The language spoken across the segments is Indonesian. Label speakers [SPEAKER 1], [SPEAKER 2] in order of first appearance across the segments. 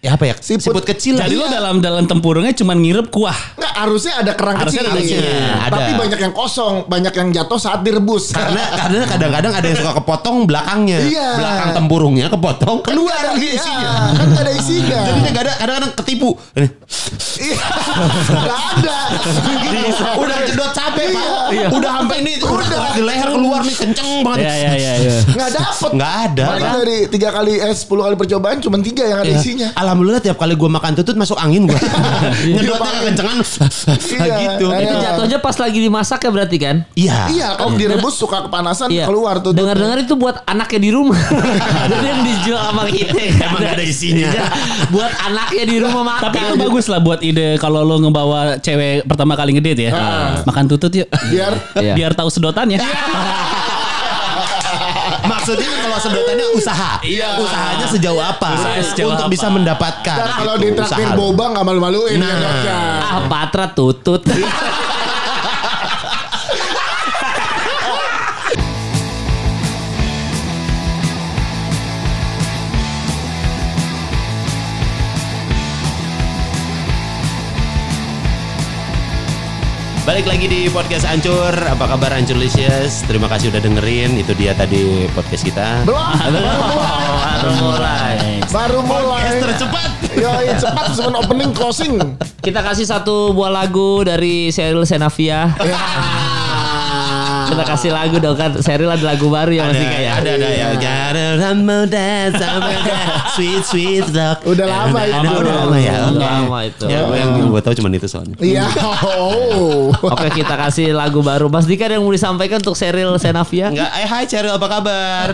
[SPEAKER 1] apa ya? Siput, kecil lah.
[SPEAKER 2] Jadi lo
[SPEAKER 1] Iya.
[SPEAKER 2] dalam dalam tempurungnya cuman ngirup kuah.
[SPEAKER 3] Nggak, harusnya ada kerang
[SPEAKER 2] Harusnya ada
[SPEAKER 3] kecil. Iya.
[SPEAKER 2] kecilnya,
[SPEAKER 1] ada.
[SPEAKER 3] Tapi banyak yang kosong, banyak yang jatuh saat direbus.
[SPEAKER 1] karena karena kadang-kadang ada yang suka kepotong belakangnya
[SPEAKER 3] Iya.
[SPEAKER 1] belakang tempurungnya kepotong keluar
[SPEAKER 3] kan Nggak ada-
[SPEAKER 1] isinya
[SPEAKER 3] iya, kan nggak ada isinya.
[SPEAKER 1] jadi nggak ada kadang-kadang ketipu Ini,
[SPEAKER 3] Iya, nggak ada.
[SPEAKER 1] udah jedot capek pak
[SPEAKER 2] Iya.
[SPEAKER 1] udah sampai ini udah di leher keluar nih kenceng banget
[SPEAKER 2] Iya iya iya. iya.
[SPEAKER 3] Nggak dapet.
[SPEAKER 1] nggak ada
[SPEAKER 3] Paling
[SPEAKER 1] Pak.
[SPEAKER 3] dari tiga kali eh sepuluh kali percobaan cuma tiga yang ada
[SPEAKER 1] Iya.
[SPEAKER 3] isinya.
[SPEAKER 1] Alhamdulillah tiap kali gua makan tutut masuk angin gua. Iya. Nyedotnya kekencengan gitu.
[SPEAKER 3] Iya.
[SPEAKER 4] Itu jatuhnya pas lagi dimasak ya berarti kan? Iya.
[SPEAKER 1] Iya.
[SPEAKER 3] Iya, kalau direbus suka kepanasan keluar tuh.
[SPEAKER 4] Dengar-dengar itu buat anaknya di rumah. Jadi yang dijual sama kita. kan? Iya.
[SPEAKER 1] Emang nggak ada isinya.
[SPEAKER 4] buat anaknya di rumah makan.
[SPEAKER 2] Tapi itu bagus lah buat ide kalau lo ngebawa cewek pertama kali ngedate ya.
[SPEAKER 1] Ah.
[SPEAKER 2] Makan tutut yuk.
[SPEAKER 3] biar
[SPEAKER 2] Kan
[SPEAKER 4] Iya.
[SPEAKER 2] Biar tahu sedotannya.
[SPEAKER 1] Iya. Maksudnya kan kalau sedotannya usaha.
[SPEAKER 3] Iya.
[SPEAKER 1] Usahanya sejauh apa?
[SPEAKER 2] Usahanya sejauh
[SPEAKER 1] Untuk
[SPEAKER 2] apa.
[SPEAKER 1] bisa mendapatkan.
[SPEAKER 2] Nah,
[SPEAKER 3] Dan Iya. Nah, kalau
[SPEAKER 1] gitu,
[SPEAKER 3] ditraktir
[SPEAKER 1] usaha.
[SPEAKER 3] boba nggak malu-maluin ya,
[SPEAKER 1] Nah.
[SPEAKER 3] nyedotnya.
[SPEAKER 4] Ah, Patra tutut.
[SPEAKER 1] Balik lagi di podcast Ancur. Apa kabar Ancurlicious? Terima kasih udah dengerin. Itu dia tadi podcast kita.
[SPEAKER 3] Belum, baru mulai.
[SPEAKER 4] Baru mulai.
[SPEAKER 3] Baru mulai.
[SPEAKER 1] Podcast tercepat.
[SPEAKER 3] Yo, iya, cepat sebelum opening closing.
[SPEAKER 4] Kita kasih satu buah lagu dari Sheryl Senavia.
[SPEAKER 3] Ya. Ah.
[SPEAKER 4] Kita kasih lagu dong kan. Sheryl ada lagu baru ya masih kayak.
[SPEAKER 1] ada ada ya. Gotta run more than summer dance, sweet sweet dog.
[SPEAKER 3] Udah lama itu.
[SPEAKER 1] Ada, udah lama ya.
[SPEAKER 4] Udah lama itu.
[SPEAKER 1] Ya, yang gue tahu cuma itu soalnya.
[SPEAKER 3] Iya. Oh.
[SPEAKER 4] Oke kita kasih lagu baru. Mas Dika ada yang mau disampaikan untuk Sheryl Senavia?
[SPEAKER 1] Enggak, eh hai Cheryl apa kabar?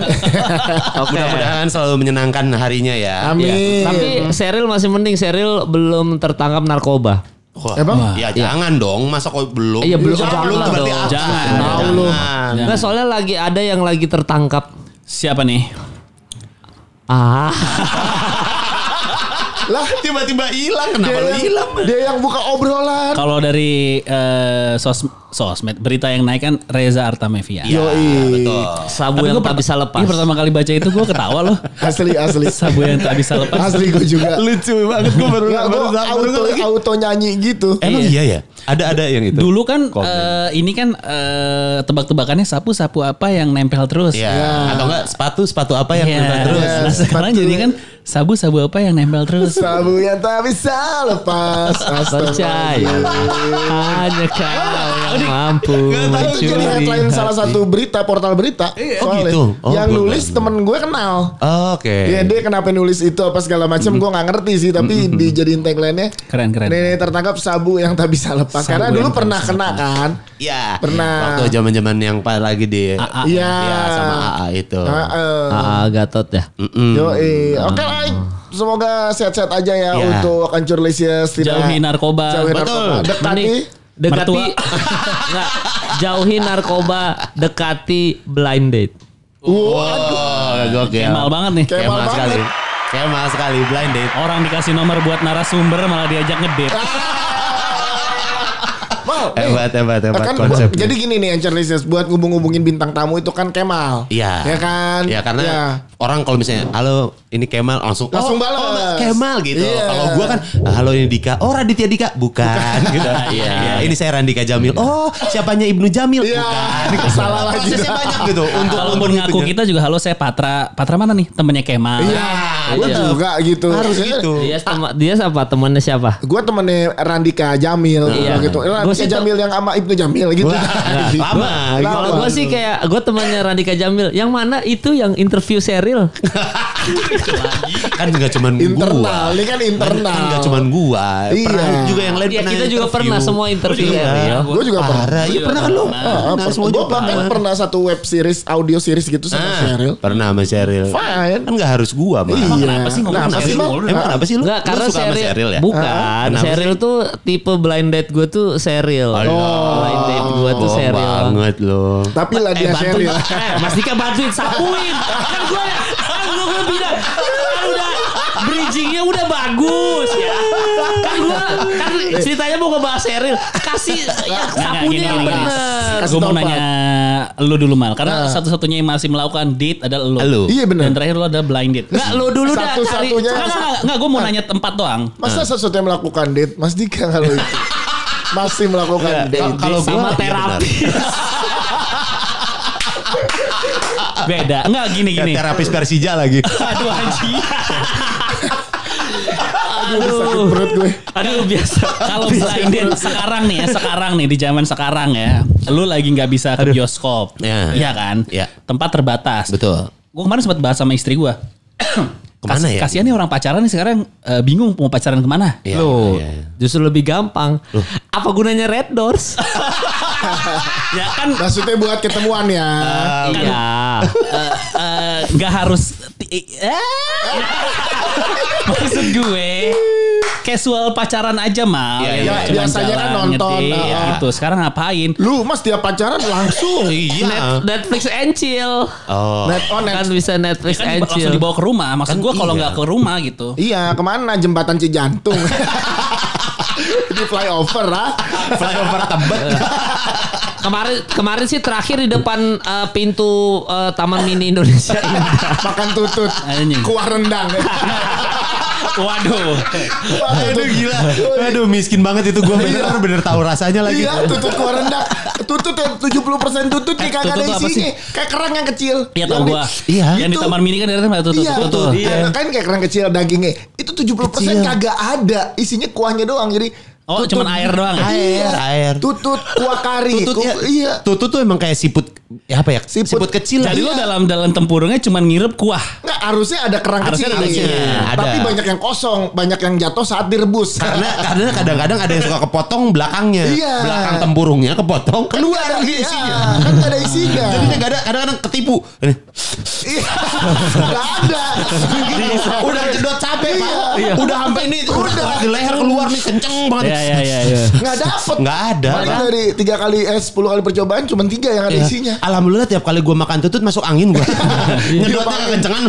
[SPEAKER 4] Oke.
[SPEAKER 1] Mudah-mudahan selalu menyenangkan harinya ya.
[SPEAKER 3] Amin.
[SPEAKER 4] Tapi Sheryl masih mending. Sheryl belum tertangkap narkoba.
[SPEAKER 1] Wah,
[SPEAKER 3] Emang?
[SPEAKER 1] Ya jangan dong, masa kok belum?
[SPEAKER 4] Iya, belum.
[SPEAKER 1] Jangan,
[SPEAKER 4] Jangan
[SPEAKER 1] belum
[SPEAKER 4] dong.
[SPEAKER 1] berarti apa?
[SPEAKER 2] Jangan.
[SPEAKER 4] Tahu lu.
[SPEAKER 1] Nah.
[SPEAKER 4] Enggak soalnya lagi ada yang lagi tertangkap.
[SPEAKER 2] Siapa nih?
[SPEAKER 4] Ah,
[SPEAKER 3] Lah,
[SPEAKER 1] Tiba-tiba hilang, kenapa
[SPEAKER 3] dia
[SPEAKER 1] lu
[SPEAKER 3] yang,
[SPEAKER 1] hilang? Oh,
[SPEAKER 3] dia yang buka obrolan.
[SPEAKER 2] Kalau dari eh, sos sosmed berita yang naik kan Reza Artamevia.
[SPEAKER 1] Iya, betul.
[SPEAKER 4] sabu
[SPEAKER 2] Tapi gua
[SPEAKER 4] yang tak
[SPEAKER 2] per-
[SPEAKER 4] bisa lepas.
[SPEAKER 2] Iya, pertama kali baca itu gue ketawa loh.
[SPEAKER 3] Asli, asli.
[SPEAKER 2] Sabu yang tak bisa lepas.
[SPEAKER 3] Asli gue juga.
[SPEAKER 1] Lucu banget gue ya. baru
[SPEAKER 3] Nggak, gue auto, auto nyanyi gitu.
[SPEAKER 1] Emang iya ya? Ada ada yang itu.
[SPEAKER 2] Dulu kan
[SPEAKER 1] Komen.
[SPEAKER 2] eh, ini kan eh, tebak-tebakannya sapu-sapu apa yang nempel terus.
[SPEAKER 1] Iya. Atau enggak sepatu sepatu apa yang
[SPEAKER 2] Iya.
[SPEAKER 1] nempel terus?
[SPEAKER 2] Nah, sekarang jadi kan sabu-sabu apa yang nempel terus.
[SPEAKER 3] Sabu yang tak bisa lepas.
[SPEAKER 4] percaya.
[SPEAKER 3] Astagfirullahaladzim.
[SPEAKER 4] Hanya kau yang mampu
[SPEAKER 3] Itu jadi headline
[SPEAKER 4] mencuri.
[SPEAKER 3] salah satu berita portal berita.
[SPEAKER 1] Oh, gitu? Oh,
[SPEAKER 3] yang
[SPEAKER 1] gua
[SPEAKER 3] nulis temen gue kenal.
[SPEAKER 1] Oke. Hmm.
[SPEAKER 3] Iya dia kenapa nulis itu apa segala macam gue nggak ngerti sih tapi dijadiin tagline-nya
[SPEAKER 2] Keren, keren.
[SPEAKER 3] Nenek tertangkap sabu yang tak bisa lepas
[SPEAKER 2] Sabu
[SPEAKER 3] karena
[SPEAKER 2] yang
[SPEAKER 3] dulu
[SPEAKER 2] tak
[SPEAKER 3] pernah
[SPEAKER 2] bisa
[SPEAKER 3] kena kan.
[SPEAKER 1] Iya.
[SPEAKER 3] Pernah.
[SPEAKER 1] Waktu zaman-zaman yang pas lagi di
[SPEAKER 3] Iya.
[SPEAKER 1] Iya, sama AA itu.
[SPEAKER 3] Heeh.
[SPEAKER 4] Ah, Gatot ya.
[SPEAKER 1] Mm-mm.
[SPEAKER 3] Yoi. Oke lah. Semoga sehat-sehat aja ya
[SPEAKER 1] Iya.
[SPEAKER 3] untuk Ancur Lesias tidak
[SPEAKER 2] Jauhi narkoba.
[SPEAKER 3] Jauhi
[SPEAKER 1] Betul.
[SPEAKER 3] narkoba. Dekati.
[SPEAKER 4] Mending dekati
[SPEAKER 2] Mertua.
[SPEAKER 4] enggak jauhi narkoba, dekati blind date.
[SPEAKER 1] Wow, gokil.
[SPEAKER 2] Kemal banget nih.
[SPEAKER 3] Kemal
[SPEAKER 1] Kemal
[SPEAKER 3] banget.
[SPEAKER 1] sekali. Kemal sekali blind date.
[SPEAKER 2] Orang dikasih nomor buat narasumber malah diajak ngedate.
[SPEAKER 3] Wow. nih.
[SPEAKER 1] Hebat, hebat, hebat
[SPEAKER 3] Kan,
[SPEAKER 1] konsepnya.
[SPEAKER 3] jadi gini nih Ancur Lesias buat ngubung-ngubungin bintang tamu itu kan Kemal.
[SPEAKER 1] Iya.
[SPEAKER 3] Ya kan?
[SPEAKER 1] Iya karena
[SPEAKER 3] Iya.
[SPEAKER 1] orang kalau misalnya halo ini Kemal langsung
[SPEAKER 3] Langsung
[SPEAKER 1] "Oh,
[SPEAKER 3] balas."
[SPEAKER 1] oh, Kemal gitu.
[SPEAKER 3] Iya.
[SPEAKER 1] Kalau gua kan halo ini Dika. Oh Raditya Dika. Bukan, gitu. Iya. Ini saya Randika Jamil. Oh, siapanya Ibnu Jamil.
[SPEAKER 3] Iya.
[SPEAKER 1] Bukan.
[SPEAKER 3] Salah lagi.
[SPEAKER 1] Prosesnya banyak gitu untuk
[SPEAKER 2] Kalaupun
[SPEAKER 1] untuk
[SPEAKER 2] ngaku
[SPEAKER 1] itunya.
[SPEAKER 2] kita juga halo saya Patra. Patra mana nih? Temennya Kemal.
[SPEAKER 3] Iya. Gue
[SPEAKER 4] Iya.
[SPEAKER 3] juga gitu.
[SPEAKER 1] Nah, Ah, harus
[SPEAKER 3] Iya.
[SPEAKER 1] gitu.
[SPEAKER 4] Dia sama dia siapa temannya siapa?
[SPEAKER 3] Gue temennya Randika Jamil
[SPEAKER 4] Iya.
[SPEAKER 1] Nah.
[SPEAKER 3] gitu. Eh,
[SPEAKER 4] Gua
[SPEAKER 3] Randika
[SPEAKER 4] sih tau-
[SPEAKER 3] Jamil yang sama Ibnu Jamil gitu.
[SPEAKER 1] Wah, lama.
[SPEAKER 4] Kalau
[SPEAKER 3] Lama.
[SPEAKER 4] gue sih kayak gue temannya Randika Jamil. Yang mana itu yang interview Seril?
[SPEAKER 1] kan nggak cuman gua.
[SPEAKER 3] internal, ini kan internal.
[SPEAKER 1] Kan nggak cuman gua. Pernah
[SPEAKER 3] Iya.
[SPEAKER 1] juga yang lain
[SPEAKER 4] Ya
[SPEAKER 1] pernah
[SPEAKER 4] kita juga
[SPEAKER 1] interview.
[SPEAKER 4] pernah semua interview
[SPEAKER 1] Iya.
[SPEAKER 4] Seril.
[SPEAKER 3] Gue juga pernah. Ah,
[SPEAKER 1] Parah. Iya pernah kan lu? Pernah, semua
[SPEAKER 3] gue
[SPEAKER 1] juga
[SPEAKER 3] bahkan
[SPEAKER 1] pernah.
[SPEAKER 3] kan pernah satu web series, audio series gitu sama
[SPEAKER 1] Ah,
[SPEAKER 3] Sheryl.
[SPEAKER 1] Pernah sama Cheryl.
[SPEAKER 3] Fine.
[SPEAKER 1] Kan gak harus gua, mah.
[SPEAKER 3] Iya.
[SPEAKER 2] Kenapa sih ngomong
[SPEAKER 3] Kenapa
[SPEAKER 2] sama
[SPEAKER 3] sih,
[SPEAKER 2] Sheryl
[SPEAKER 3] Bang?
[SPEAKER 2] mulu?
[SPEAKER 1] Emang kenapa sih lu?
[SPEAKER 4] Enggak,
[SPEAKER 1] Lu
[SPEAKER 4] karena
[SPEAKER 1] suka sama
[SPEAKER 4] Seril
[SPEAKER 1] Cheryl ya?
[SPEAKER 4] Bukan,
[SPEAKER 1] Kenapa
[SPEAKER 4] Seril tuh tipe blind date gue tuh Seril. Blind date gue tuh
[SPEAKER 1] Bohong
[SPEAKER 4] Seril.
[SPEAKER 1] Oh, banget lo.
[SPEAKER 3] Tapi lah dia Sheryl.
[SPEAKER 4] Eh, Mas Dika bantuin sapuin. Kan gue kan gue udah beda. Kan udah bridgingnya udah bagus ya. Kan gua kan ceritanya mau ngebahas Seril. Kasih ya, sapunya yang bener. Nah.
[SPEAKER 3] Kasih
[SPEAKER 2] Gue mau
[SPEAKER 3] tau, Pak.
[SPEAKER 2] nanya lu dulu mal, karena satu-satunya yang masih melakukan date adalah lu.
[SPEAKER 1] Lu.
[SPEAKER 3] Iya, bener.
[SPEAKER 2] Dan terakhir lu adalah blind date. Enggak, lu dulu dah.
[SPEAKER 3] Satu-satunya-
[SPEAKER 2] cari- Enggak, enggak, enggak, enggak, gue
[SPEAKER 4] Nah.
[SPEAKER 2] mau nanya tempat doang.
[SPEAKER 3] Masa sesuatu yang melakukan date? Mas Dika kalau itu. Masih melakukan date.
[SPEAKER 1] Kalau
[SPEAKER 4] Sama
[SPEAKER 1] gua-
[SPEAKER 4] terapi.
[SPEAKER 1] Iya,
[SPEAKER 2] Beda. Enggak gini
[SPEAKER 1] benar.
[SPEAKER 2] gini.
[SPEAKER 1] terapis Persija lagi.
[SPEAKER 2] Aduh anjing.
[SPEAKER 3] Aduh, sakit perut gue.
[SPEAKER 2] Aduh biasa. Kalau blind date sekarang nih ya, sekarang nih di zaman sekarang ya, lu lagi nggak bisa ke bioskop,
[SPEAKER 1] Ya.
[SPEAKER 2] iya kan?
[SPEAKER 1] Ya.
[SPEAKER 2] Tempat terbatas.
[SPEAKER 1] Betul.
[SPEAKER 2] Gue kemarin sempat bahas sama istri gue.
[SPEAKER 1] Kemana ya?
[SPEAKER 2] Kasihan nih orang pacaran nih sekarang eh, bingung mau pacaran kemana?
[SPEAKER 1] Iya,
[SPEAKER 4] Loh,
[SPEAKER 1] iya.
[SPEAKER 4] justru lebih gampang. Apa gunanya Red Doors?
[SPEAKER 2] Ya kan
[SPEAKER 3] Maksudnya buat ketemuan ya.
[SPEAKER 2] Ah.
[SPEAKER 4] Iya.
[SPEAKER 2] eh, eh, nggak harus. ti- eh. Maksud gue casual pacaran aja mal.
[SPEAKER 1] Iya, iya.
[SPEAKER 2] Cuma
[SPEAKER 3] Biasanya kan
[SPEAKER 2] jalan,
[SPEAKER 3] nonton,
[SPEAKER 2] ngetik,
[SPEAKER 3] ah.
[SPEAKER 2] gitu. Sekarang ngapain?
[SPEAKER 3] Lu mas tiap pacaran langsung.
[SPEAKER 2] Ah.
[SPEAKER 1] Iya.
[SPEAKER 4] Netflix and chill.
[SPEAKER 1] Oh.
[SPEAKER 3] Net on net.
[SPEAKER 4] Kan bisa Netflix
[SPEAKER 2] Kan
[SPEAKER 4] and
[SPEAKER 2] dibawa- langsung
[SPEAKER 4] chill.
[SPEAKER 2] dibawa ke rumah. Maksud
[SPEAKER 1] Kan
[SPEAKER 2] gue kalau
[SPEAKER 1] iya.
[SPEAKER 2] nggak ke rumah gitu.
[SPEAKER 3] Iya, kemana jembatan Cijantung? Di flyover ah.
[SPEAKER 1] Flyover tebet.
[SPEAKER 4] Kemarin kemarin sih terakhir di depan eh, pintu eh, Taman Mini Indonesia Indah.
[SPEAKER 3] Makan tutut.
[SPEAKER 2] Anjing.
[SPEAKER 3] Kuah rendang.
[SPEAKER 2] Waduh.
[SPEAKER 1] Aduh gila. Aduh miskin banget itu gua bener bener tahu rasanya lagi.
[SPEAKER 3] Iya, tutut kuah rendang. Tutut yang 70% tutut nih kagak ada
[SPEAKER 2] Eh, tutut apa sih?
[SPEAKER 3] isinya. Kayak kerang yang kecil.
[SPEAKER 2] Iya tau
[SPEAKER 3] Yang di-
[SPEAKER 2] gue.
[SPEAKER 1] Iya.
[SPEAKER 2] Yang di
[SPEAKER 3] Itu.
[SPEAKER 2] taman mini kan ada tempat tuh.
[SPEAKER 3] Iya,
[SPEAKER 2] tuh.
[SPEAKER 3] Iya. Kan kayak kerang kecil dagingnya. Itu 70% kagak ada. Isinya kuahnya doang. Jadi
[SPEAKER 2] Oh, cuman air doang.
[SPEAKER 3] Air,
[SPEAKER 1] Air.
[SPEAKER 3] Tutut kuah kari. Ku-
[SPEAKER 1] Tutut ya.
[SPEAKER 3] Iya.
[SPEAKER 1] Tutut tuh emang kayak siput ya apa ya?
[SPEAKER 3] Siput.
[SPEAKER 1] Siput, kecil lah. Iya.
[SPEAKER 2] Jadi
[SPEAKER 3] Iya.
[SPEAKER 2] lo dalam dalam tempurungnya cuman ngirup kuah.
[SPEAKER 3] Nggak, harusnya ada kerang
[SPEAKER 2] Harusnya
[SPEAKER 3] kecil.
[SPEAKER 2] ada kecil.
[SPEAKER 3] Iya.
[SPEAKER 1] Ada.
[SPEAKER 3] Tapi banyak yang kosong, banyak yang jatuh saat direbus.
[SPEAKER 1] karena karena kadang-kadang ada yang suka kepotong belakangnya
[SPEAKER 3] Iya.
[SPEAKER 1] belakang tempurungnya kepotong keluar
[SPEAKER 3] Nggak ada-
[SPEAKER 1] isinya.
[SPEAKER 3] iya, kan nggak ada isinya.
[SPEAKER 1] jadi nggak ada kadang-kadang ketipu Ini,
[SPEAKER 3] Iya, nggak ada.
[SPEAKER 1] udah jedot capek pak
[SPEAKER 3] Iya.
[SPEAKER 1] udah sampai ini udah di leher keluar nih kenceng banget
[SPEAKER 2] Iya iya iya. iya.
[SPEAKER 3] Nggak dapet.
[SPEAKER 1] nggak ada
[SPEAKER 3] Makanya
[SPEAKER 1] Pak.
[SPEAKER 3] dari tiga kali eh sepuluh kali percobaan cuma tiga yang ada
[SPEAKER 1] Iya.
[SPEAKER 3] isinya.
[SPEAKER 1] Alhamdulillah tiap kali gua makan tutut masuk angin gua. Iya. Nyedotnya kekencengan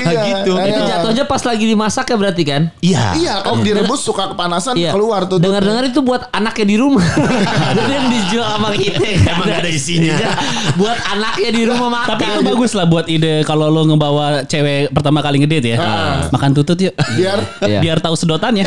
[SPEAKER 1] gitu.
[SPEAKER 3] Iya.
[SPEAKER 4] Itu jatuhnya pas lagi dimasak ya berarti kan?
[SPEAKER 1] Iya.
[SPEAKER 3] Iya, kalau direbus suka
[SPEAKER 2] Kan
[SPEAKER 3] kepanasan keluar tutut.
[SPEAKER 4] Iya. Dengar-dengar itu buat anaknya di rumah. Jadi yang dijual sama kita. Iya.
[SPEAKER 1] Emang nggak ada isinya.
[SPEAKER 4] buat anaknya di rumah makan.
[SPEAKER 2] ya. Tapi itu bagus lah buat ide kalau lo ngebawa cewek pertama kali ngedate ya.
[SPEAKER 3] Ah.
[SPEAKER 2] Makan tutut yuk.
[SPEAKER 3] Biar
[SPEAKER 4] Iya.
[SPEAKER 2] Biar tahu ya. Ah, sedotannya.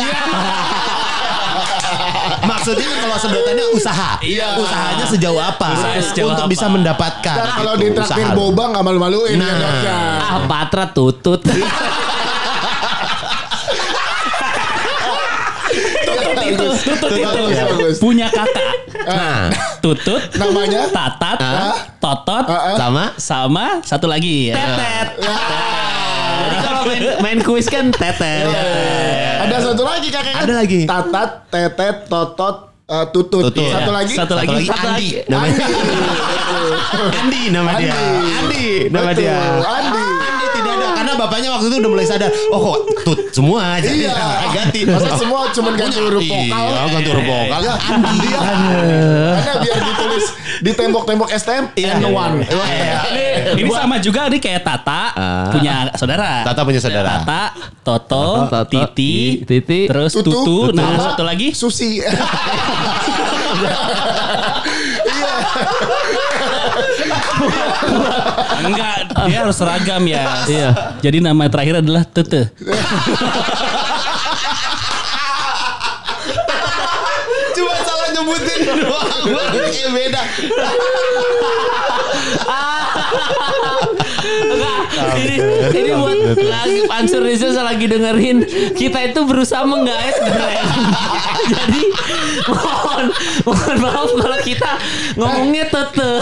[SPEAKER 1] Maksudnya kan kalau sedotannya usaha. Usahanya Iya. sejauh apa?
[SPEAKER 2] Usahanya sejauh
[SPEAKER 1] Untuk
[SPEAKER 2] apa?
[SPEAKER 1] bisa mendapatkan.
[SPEAKER 3] Dan kalau
[SPEAKER 1] gitu,
[SPEAKER 3] ditraktir
[SPEAKER 1] usaha.
[SPEAKER 3] boba nggak malu-maluin ya,
[SPEAKER 1] Nah.
[SPEAKER 3] Dok, ya.
[SPEAKER 4] Ah, Patra tutut.
[SPEAKER 2] Tutut itu, tutut itu.
[SPEAKER 3] Iya, Bagus, bagus.
[SPEAKER 2] Punya kakak.
[SPEAKER 1] Nah,
[SPEAKER 2] Tutut.
[SPEAKER 3] Namanya?
[SPEAKER 2] Tatat.
[SPEAKER 3] Ah.
[SPEAKER 2] Totot.
[SPEAKER 3] Ah, ah.
[SPEAKER 1] sama
[SPEAKER 2] Sama satu lagi. Nah.
[SPEAKER 4] Tetet. Jadi
[SPEAKER 2] Ah.
[SPEAKER 4] kalau main, main kuis kan tetet.
[SPEAKER 3] Ada satu lagi kakak.
[SPEAKER 1] Ada lagi.
[SPEAKER 3] Tatat, tetet, totot, eh, tutut.
[SPEAKER 1] Tutut.
[SPEAKER 3] Satu
[SPEAKER 1] Iya.
[SPEAKER 3] lagi.
[SPEAKER 2] Satu lagi.
[SPEAKER 1] Satu lagi.
[SPEAKER 4] lagi.
[SPEAKER 1] Namanya
[SPEAKER 3] Betul.
[SPEAKER 1] Andi nama dia.
[SPEAKER 3] Andi.
[SPEAKER 1] Andi nama
[SPEAKER 3] Betul,
[SPEAKER 1] dia.
[SPEAKER 3] Andi.
[SPEAKER 1] Andi tidak ada karena bapaknya waktu itu udah mulai sadar. Oh kok tut semua aja.
[SPEAKER 3] Iya.
[SPEAKER 1] Ganti.
[SPEAKER 3] Masa semua cuman ganti huruf vokal.
[SPEAKER 1] Iya, ganti huruf vokal.
[SPEAKER 3] Ya,
[SPEAKER 1] Andi.
[SPEAKER 3] Karena biar ditulis di tembok-tembok STM
[SPEAKER 1] Iya.
[SPEAKER 3] N1. Iya.
[SPEAKER 2] Ini sama juga nih kayak Tata
[SPEAKER 4] Ah.
[SPEAKER 2] punya saudara.
[SPEAKER 1] Tata punya saudara.
[SPEAKER 2] Tata, Toto,
[SPEAKER 4] Toto,
[SPEAKER 2] Titi,
[SPEAKER 4] Titi,
[SPEAKER 2] terus Tutu, nah
[SPEAKER 3] Nama,
[SPEAKER 2] satu lagi
[SPEAKER 3] Susi. Iya.
[SPEAKER 2] enggak dia harus seragam ya.
[SPEAKER 4] Iya.
[SPEAKER 2] Jadi nama terakhir adalah Tete.
[SPEAKER 1] Cuma salah nyebutin doang. Bang.
[SPEAKER 3] Iya,
[SPEAKER 1] Eh, beda.
[SPEAKER 4] ini, ini buat lagi Ansur Rizal saya lagi dengerin kita itu berusaha menggait brand. Jadi mohon mohon maaf kalau kita ngomongnya tete.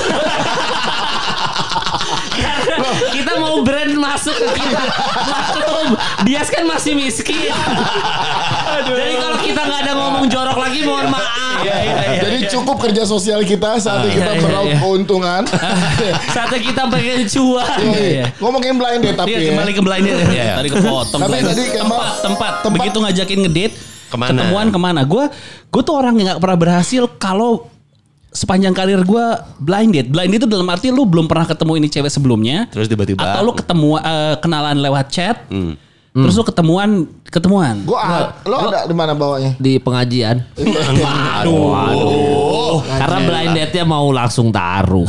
[SPEAKER 4] Karena kita mau brand masuk ke kita. Maklum, Dias kan masih miskin. Jadi kalau kita nggak ada ngomong jorok lagi mohon maaf.
[SPEAKER 2] Iya,
[SPEAKER 3] Jadi cukup kerja sosial kita saat kita
[SPEAKER 4] iya,
[SPEAKER 3] meraup
[SPEAKER 4] iya.
[SPEAKER 3] keuntungan.
[SPEAKER 4] Saatnya kita pengen cuan.
[SPEAKER 2] Ah, iya.
[SPEAKER 3] Ngomongin blind date tapi
[SPEAKER 2] Dia
[SPEAKER 3] ya.
[SPEAKER 2] kembali ke blind date.
[SPEAKER 1] Iya.
[SPEAKER 2] Tadi kepotong.
[SPEAKER 3] Tapi
[SPEAKER 2] blind
[SPEAKER 3] tadi
[SPEAKER 2] date.
[SPEAKER 3] Kemal-
[SPEAKER 2] tempat, tempat,
[SPEAKER 3] tempat.
[SPEAKER 2] begitu ngajakin ngedate
[SPEAKER 1] Kemana?
[SPEAKER 2] ketemuan kemana? Gue gue tuh orang yang nggak pernah berhasil kalau sepanjang karir gue blind date. Blind date itu dalam arti lu belum pernah ketemu ini cewek sebelumnya.
[SPEAKER 1] Terus tiba-tiba-
[SPEAKER 2] Atau lu ketemu eh, kenalan lewat chat. Terus lu ketemuan, ketemuan.
[SPEAKER 3] Gua a- lo ada di mana bawanya?
[SPEAKER 4] di pengajian.
[SPEAKER 1] Aduh. aduh.
[SPEAKER 4] Karena blind date-nya mau langsung taruh.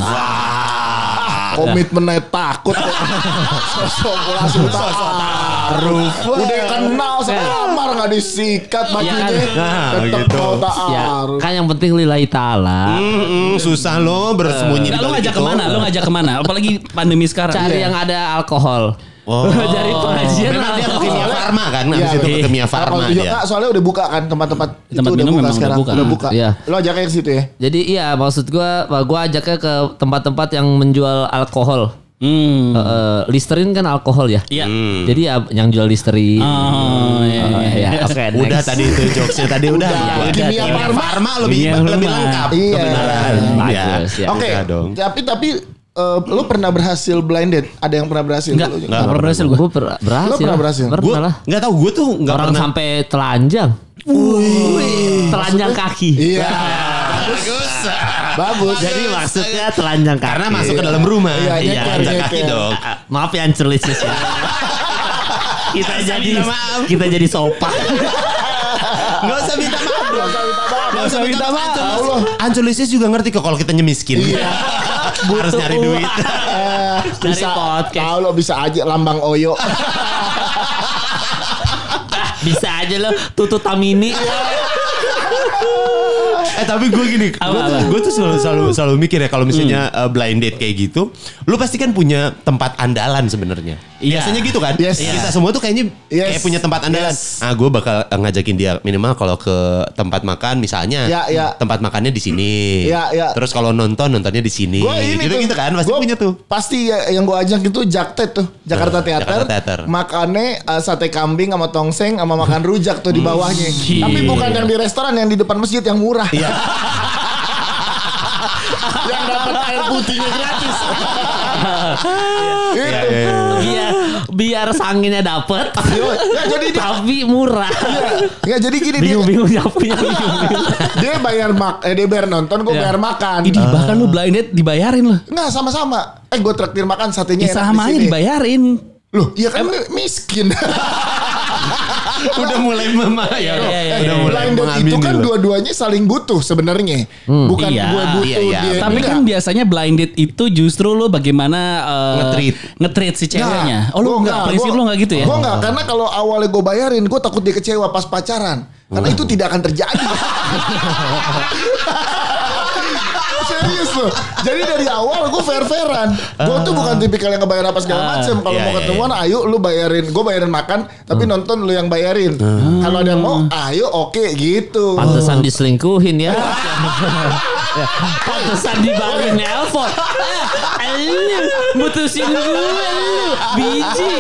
[SPEAKER 1] ah,
[SPEAKER 3] Komitmennya takut. Sosok gua langsung taruh. Udah kenal sekamar nggak disikat bajunya.
[SPEAKER 1] Nah,
[SPEAKER 3] Tetep
[SPEAKER 1] gitu.
[SPEAKER 3] mau
[SPEAKER 4] Ya,
[SPEAKER 3] taruh.
[SPEAKER 4] kan yang penting lillahi ta'ala.
[SPEAKER 1] Mm-mm, susah lo bersembunyi
[SPEAKER 2] Enggak, lu
[SPEAKER 1] balik
[SPEAKER 2] ngajak
[SPEAKER 1] itu.
[SPEAKER 2] kemana? Lu ngajak kemana? Apalagi pandemi sekarang. Iya.
[SPEAKER 4] Cari yang ada alkohol.
[SPEAKER 1] Oh.
[SPEAKER 4] Dari pengajian
[SPEAKER 1] Memang dia ke
[SPEAKER 4] alkohol.
[SPEAKER 1] kimia farma kan, habis
[SPEAKER 3] Iya,
[SPEAKER 1] itu ke
[SPEAKER 3] betul.
[SPEAKER 1] kimia
[SPEAKER 3] Kalau
[SPEAKER 1] farma
[SPEAKER 3] di
[SPEAKER 1] dia.
[SPEAKER 3] Yogyakarta soalnya udah buka kan tempat-tempat itu
[SPEAKER 2] Tempat
[SPEAKER 3] udah
[SPEAKER 2] minum
[SPEAKER 3] buka
[SPEAKER 2] memang udah
[SPEAKER 3] sekarang.
[SPEAKER 2] buka.
[SPEAKER 3] Udah buka.
[SPEAKER 4] Iya.
[SPEAKER 3] Lo ajaknya ke situ ya.
[SPEAKER 4] Jadi iya maksud gua gua ajaknya ke tempat-tempat yang menjual alkohol.
[SPEAKER 2] Hmm.
[SPEAKER 4] Eh, eh, Listerin kan alkohol ya.
[SPEAKER 2] Iya.
[SPEAKER 4] Jadi ya, yang jual Listerin.
[SPEAKER 2] Oh, iya,
[SPEAKER 4] Eh,
[SPEAKER 2] iya,
[SPEAKER 4] ya,
[SPEAKER 2] iya.
[SPEAKER 4] Oke, next.
[SPEAKER 1] Udah tadi itu jokesnya tadi udah.
[SPEAKER 4] udah,
[SPEAKER 1] kimia
[SPEAKER 4] kimia
[SPEAKER 1] farma, lebih
[SPEAKER 2] Kimia
[SPEAKER 1] lebih
[SPEAKER 2] farma.
[SPEAKER 1] lengkap
[SPEAKER 3] Iya.
[SPEAKER 1] kebenaran. Iya.
[SPEAKER 4] Bagus, ya.
[SPEAKER 1] Oke.
[SPEAKER 3] Oke.
[SPEAKER 1] dong.
[SPEAKER 3] Tapi tapi eh, lo pernah berhasil blinded? Ada yang pernah berhasil?
[SPEAKER 2] Enggak,
[SPEAKER 3] Lo juga?
[SPEAKER 2] enggak pernah berhasil gua.
[SPEAKER 4] Gua per- berhasil.
[SPEAKER 3] Lo pernah berhasil?
[SPEAKER 4] Pernah
[SPEAKER 1] Gue
[SPEAKER 4] lah.
[SPEAKER 1] nggak tahu gue tuh nggak
[SPEAKER 4] Orang
[SPEAKER 1] pernah.
[SPEAKER 4] sampai telanjang. Wih, telanjang kaki. Nah.
[SPEAKER 3] Iya.
[SPEAKER 1] Bagus.
[SPEAKER 3] Bagus.
[SPEAKER 4] Jadi maksudnya telanjang kaki.
[SPEAKER 1] Karena masuk ke dalam rumah.
[SPEAKER 3] Iya,
[SPEAKER 1] Iya.
[SPEAKER 3] nyeker,
[SPEAKER 1] Angkat kaki
[SPEAKER 3] nyeker.
[SPEAKER 1] dong.
[SPEAKER 4] Maaf ya Ancelis ya. kita jadi
[SPEAKER 1] minta maaf.
[SPEAKER 4] kita jadi sopan.
[SPEAKER 1] Nggak usah minta maaf dong. Nggak usah minta maaf.
[SPEAKER 3] Allah.
[SPEAKER 1] Anculisis juga ngerti kok kalau kita nyemiskin.
[SPEAKER 3] Iya.
[SPEAKER 1] Harus nyari duit.
[SPEAKER 3] Eh,
[SPEAKER 4] Dari
[SPEAKER 3] bisa
[SPEAKER 4] podcast.
[SPEAKER 3] tahu lo bisa aja lambang oyo
[SPEAKER 4] Bisa aja lo tutut tamini.
[SPEAKER 1] Eh tapi gue gini, gue tuh, gua tuh selalu selalu selalu mikir ya kalau misalnya
[SPEAKER 2] Hmm.
[SPEAKER 1] uh, blind date kayak gitu, lu pasti kan punya tempat andalan sebenarnya.
[SPEAKER 2] Iya.
[SPEAKER 1] Biasanya gitu kan?
[SPEAKER 3] Yes.
[SPEAKER 1] Kita semua tuh kayaknya
[SPEAKER 3] Yes.
[SPEAKER 1] kayak punya tempat andalan. Ah gue bakal uh, ngajakin dia minimal kalau ke tempat makan misalnya,
[SPEAKER 3] Ya, ya.
[SPEAKER 1] tempat makannya di sini.
[SPEAKER 3] Ya, ya.
[SPEAKER 1] Terus kalau nonton nontonnya di sini.
[SPEAKER 3] Gua ini tuh,
[SPEAKER 1] gitu gitu kan? Pasti
[SPEAKER 3] gua
[SPEAKER 1] punya tuh.
[SPEAKER 3] pasti ya, yang gua ajak itu jaktet tuh Jakarta
[SPEAKER 1] Nah,
[SPEAKER 3] Teater,
[SPEAKER 1] Jakarta Theater.
[SPEAKER 3] makannya eh, sate kambing sama tongseng sama makan rujak tuh di
[SPEAKER 1] Hmm,
[SPEAKER 3] bawahnya
[SPEAKER 2] Gila.
[SPEAKER 3] tapi bukan yang di restoran yang di depan masjid yang murah
[SPEAKER 1] Iya,
[SPEAKER 3] Iya, yang dapat air putihnya gratis Itu.
[SPEAKER 1] Iya, iya, iya.
[SPEAKER 4] biar biar sanginnya dapet
[SPEAKER 3] Ya, jadi dia- Iya.
[SPEAKER 4] tapi murah
[SPEAKER 3] Nggak, jadi gini dia,
[SPEAKER 4] bingung bingung nyapunya bingung bingung
[SPEAKER 3] dia bayar mak eh dia bayar nonton gua
[SPEAKER 4] Ya.
[SPEAKER 3] bayar makan Eh,
[SPEAKER 2] Idih,
[SPEAKER 1] Ah.
[SPEAKER 2] bahkan lu blind date dibayarin loh.
[SPEAKER 3] Nggak sama-sama. Eh gue traktir makan satenya
[SPEAKER 1] Iya,
[SPEAKER 2] Ya, sama aja dibayarin.
[SPEAKER 3] Loh, iya kan mi- miskin.
[SPEAKER 1] Udah mulai mema
[SPEAKER 2] Iya,
[SPEAKER 1] ya.
[SPEAKER 2] iya,
[SPEAKER 1] Udah
[SPEAKER 2] iya.
[SPEAKER 3] Eh,
[SPEAKER 1] mulai gitu.
[SPEAKER 3] Blinded itu
[SPEAKER 1] mengamini
[SPEAKER 3] kan
[SPEAKER 1] lu.
[SPEAKER 3] dua-duanya saling butuh sebenarnya.
[SPEAKER 1] Hmm.
[SPEAKER 3] Bukan
[SPEAKER 2] Iya.
[SPEAKER 3] gue butuh
[SPEAKER 1] Iya, iya.
[SPEAKER 3] dia.
[SPEAKER 2] Tapi
[SPEAKER 3] enggak.
[SPEAKER 2] kan biasanya blind date itu justru lu bagaimana eh,
[SPEAKER 1] Nge-treat.
[SPEAKER 2] nge-treat si ceweknya. oh, lu
[SPEAKER 3] gua
[SPEAKER 2] enggak, prinsip
[SPEAKER 3] gua-
[SPEAKER 2] lu enggak gitu ya?
[SPEAKER 3] Gua enggak, karena kalau awalnya gue bayarin, gue takut dia kecewa pas pacaran.
[SPEAKER 1] Oh.
[SPEAKER 3] Karena itu tidak akan terjadi. Serius loh. Jadi dari awal gue fair-fairan. Gue tuh bukan
[SPEAKER 2] Ah.
[SPEAKER 3] tipikal yang ngebayar apa segala macem. Kalau
[SPEAKER 1] Iya,
[SPEAKER 3] mau
[SPEAKER 1] iya,
[SPEAKER 3] ketemuan, ayo lu bayarin. Gue bayarin makan, tapi
[SPEAKER 1] Hmm.
[SPEAKER 3] nonton lu yang bayarin. Kalau ada yang mau, ayo oke gitu.
[SPEAKER 4] pantesan diselingkuhin ya pantesan dibangunin nelpon
[SPEAKER 2] Ah,
[SPEAKER 4] Eh, elu mutusin gue elu biji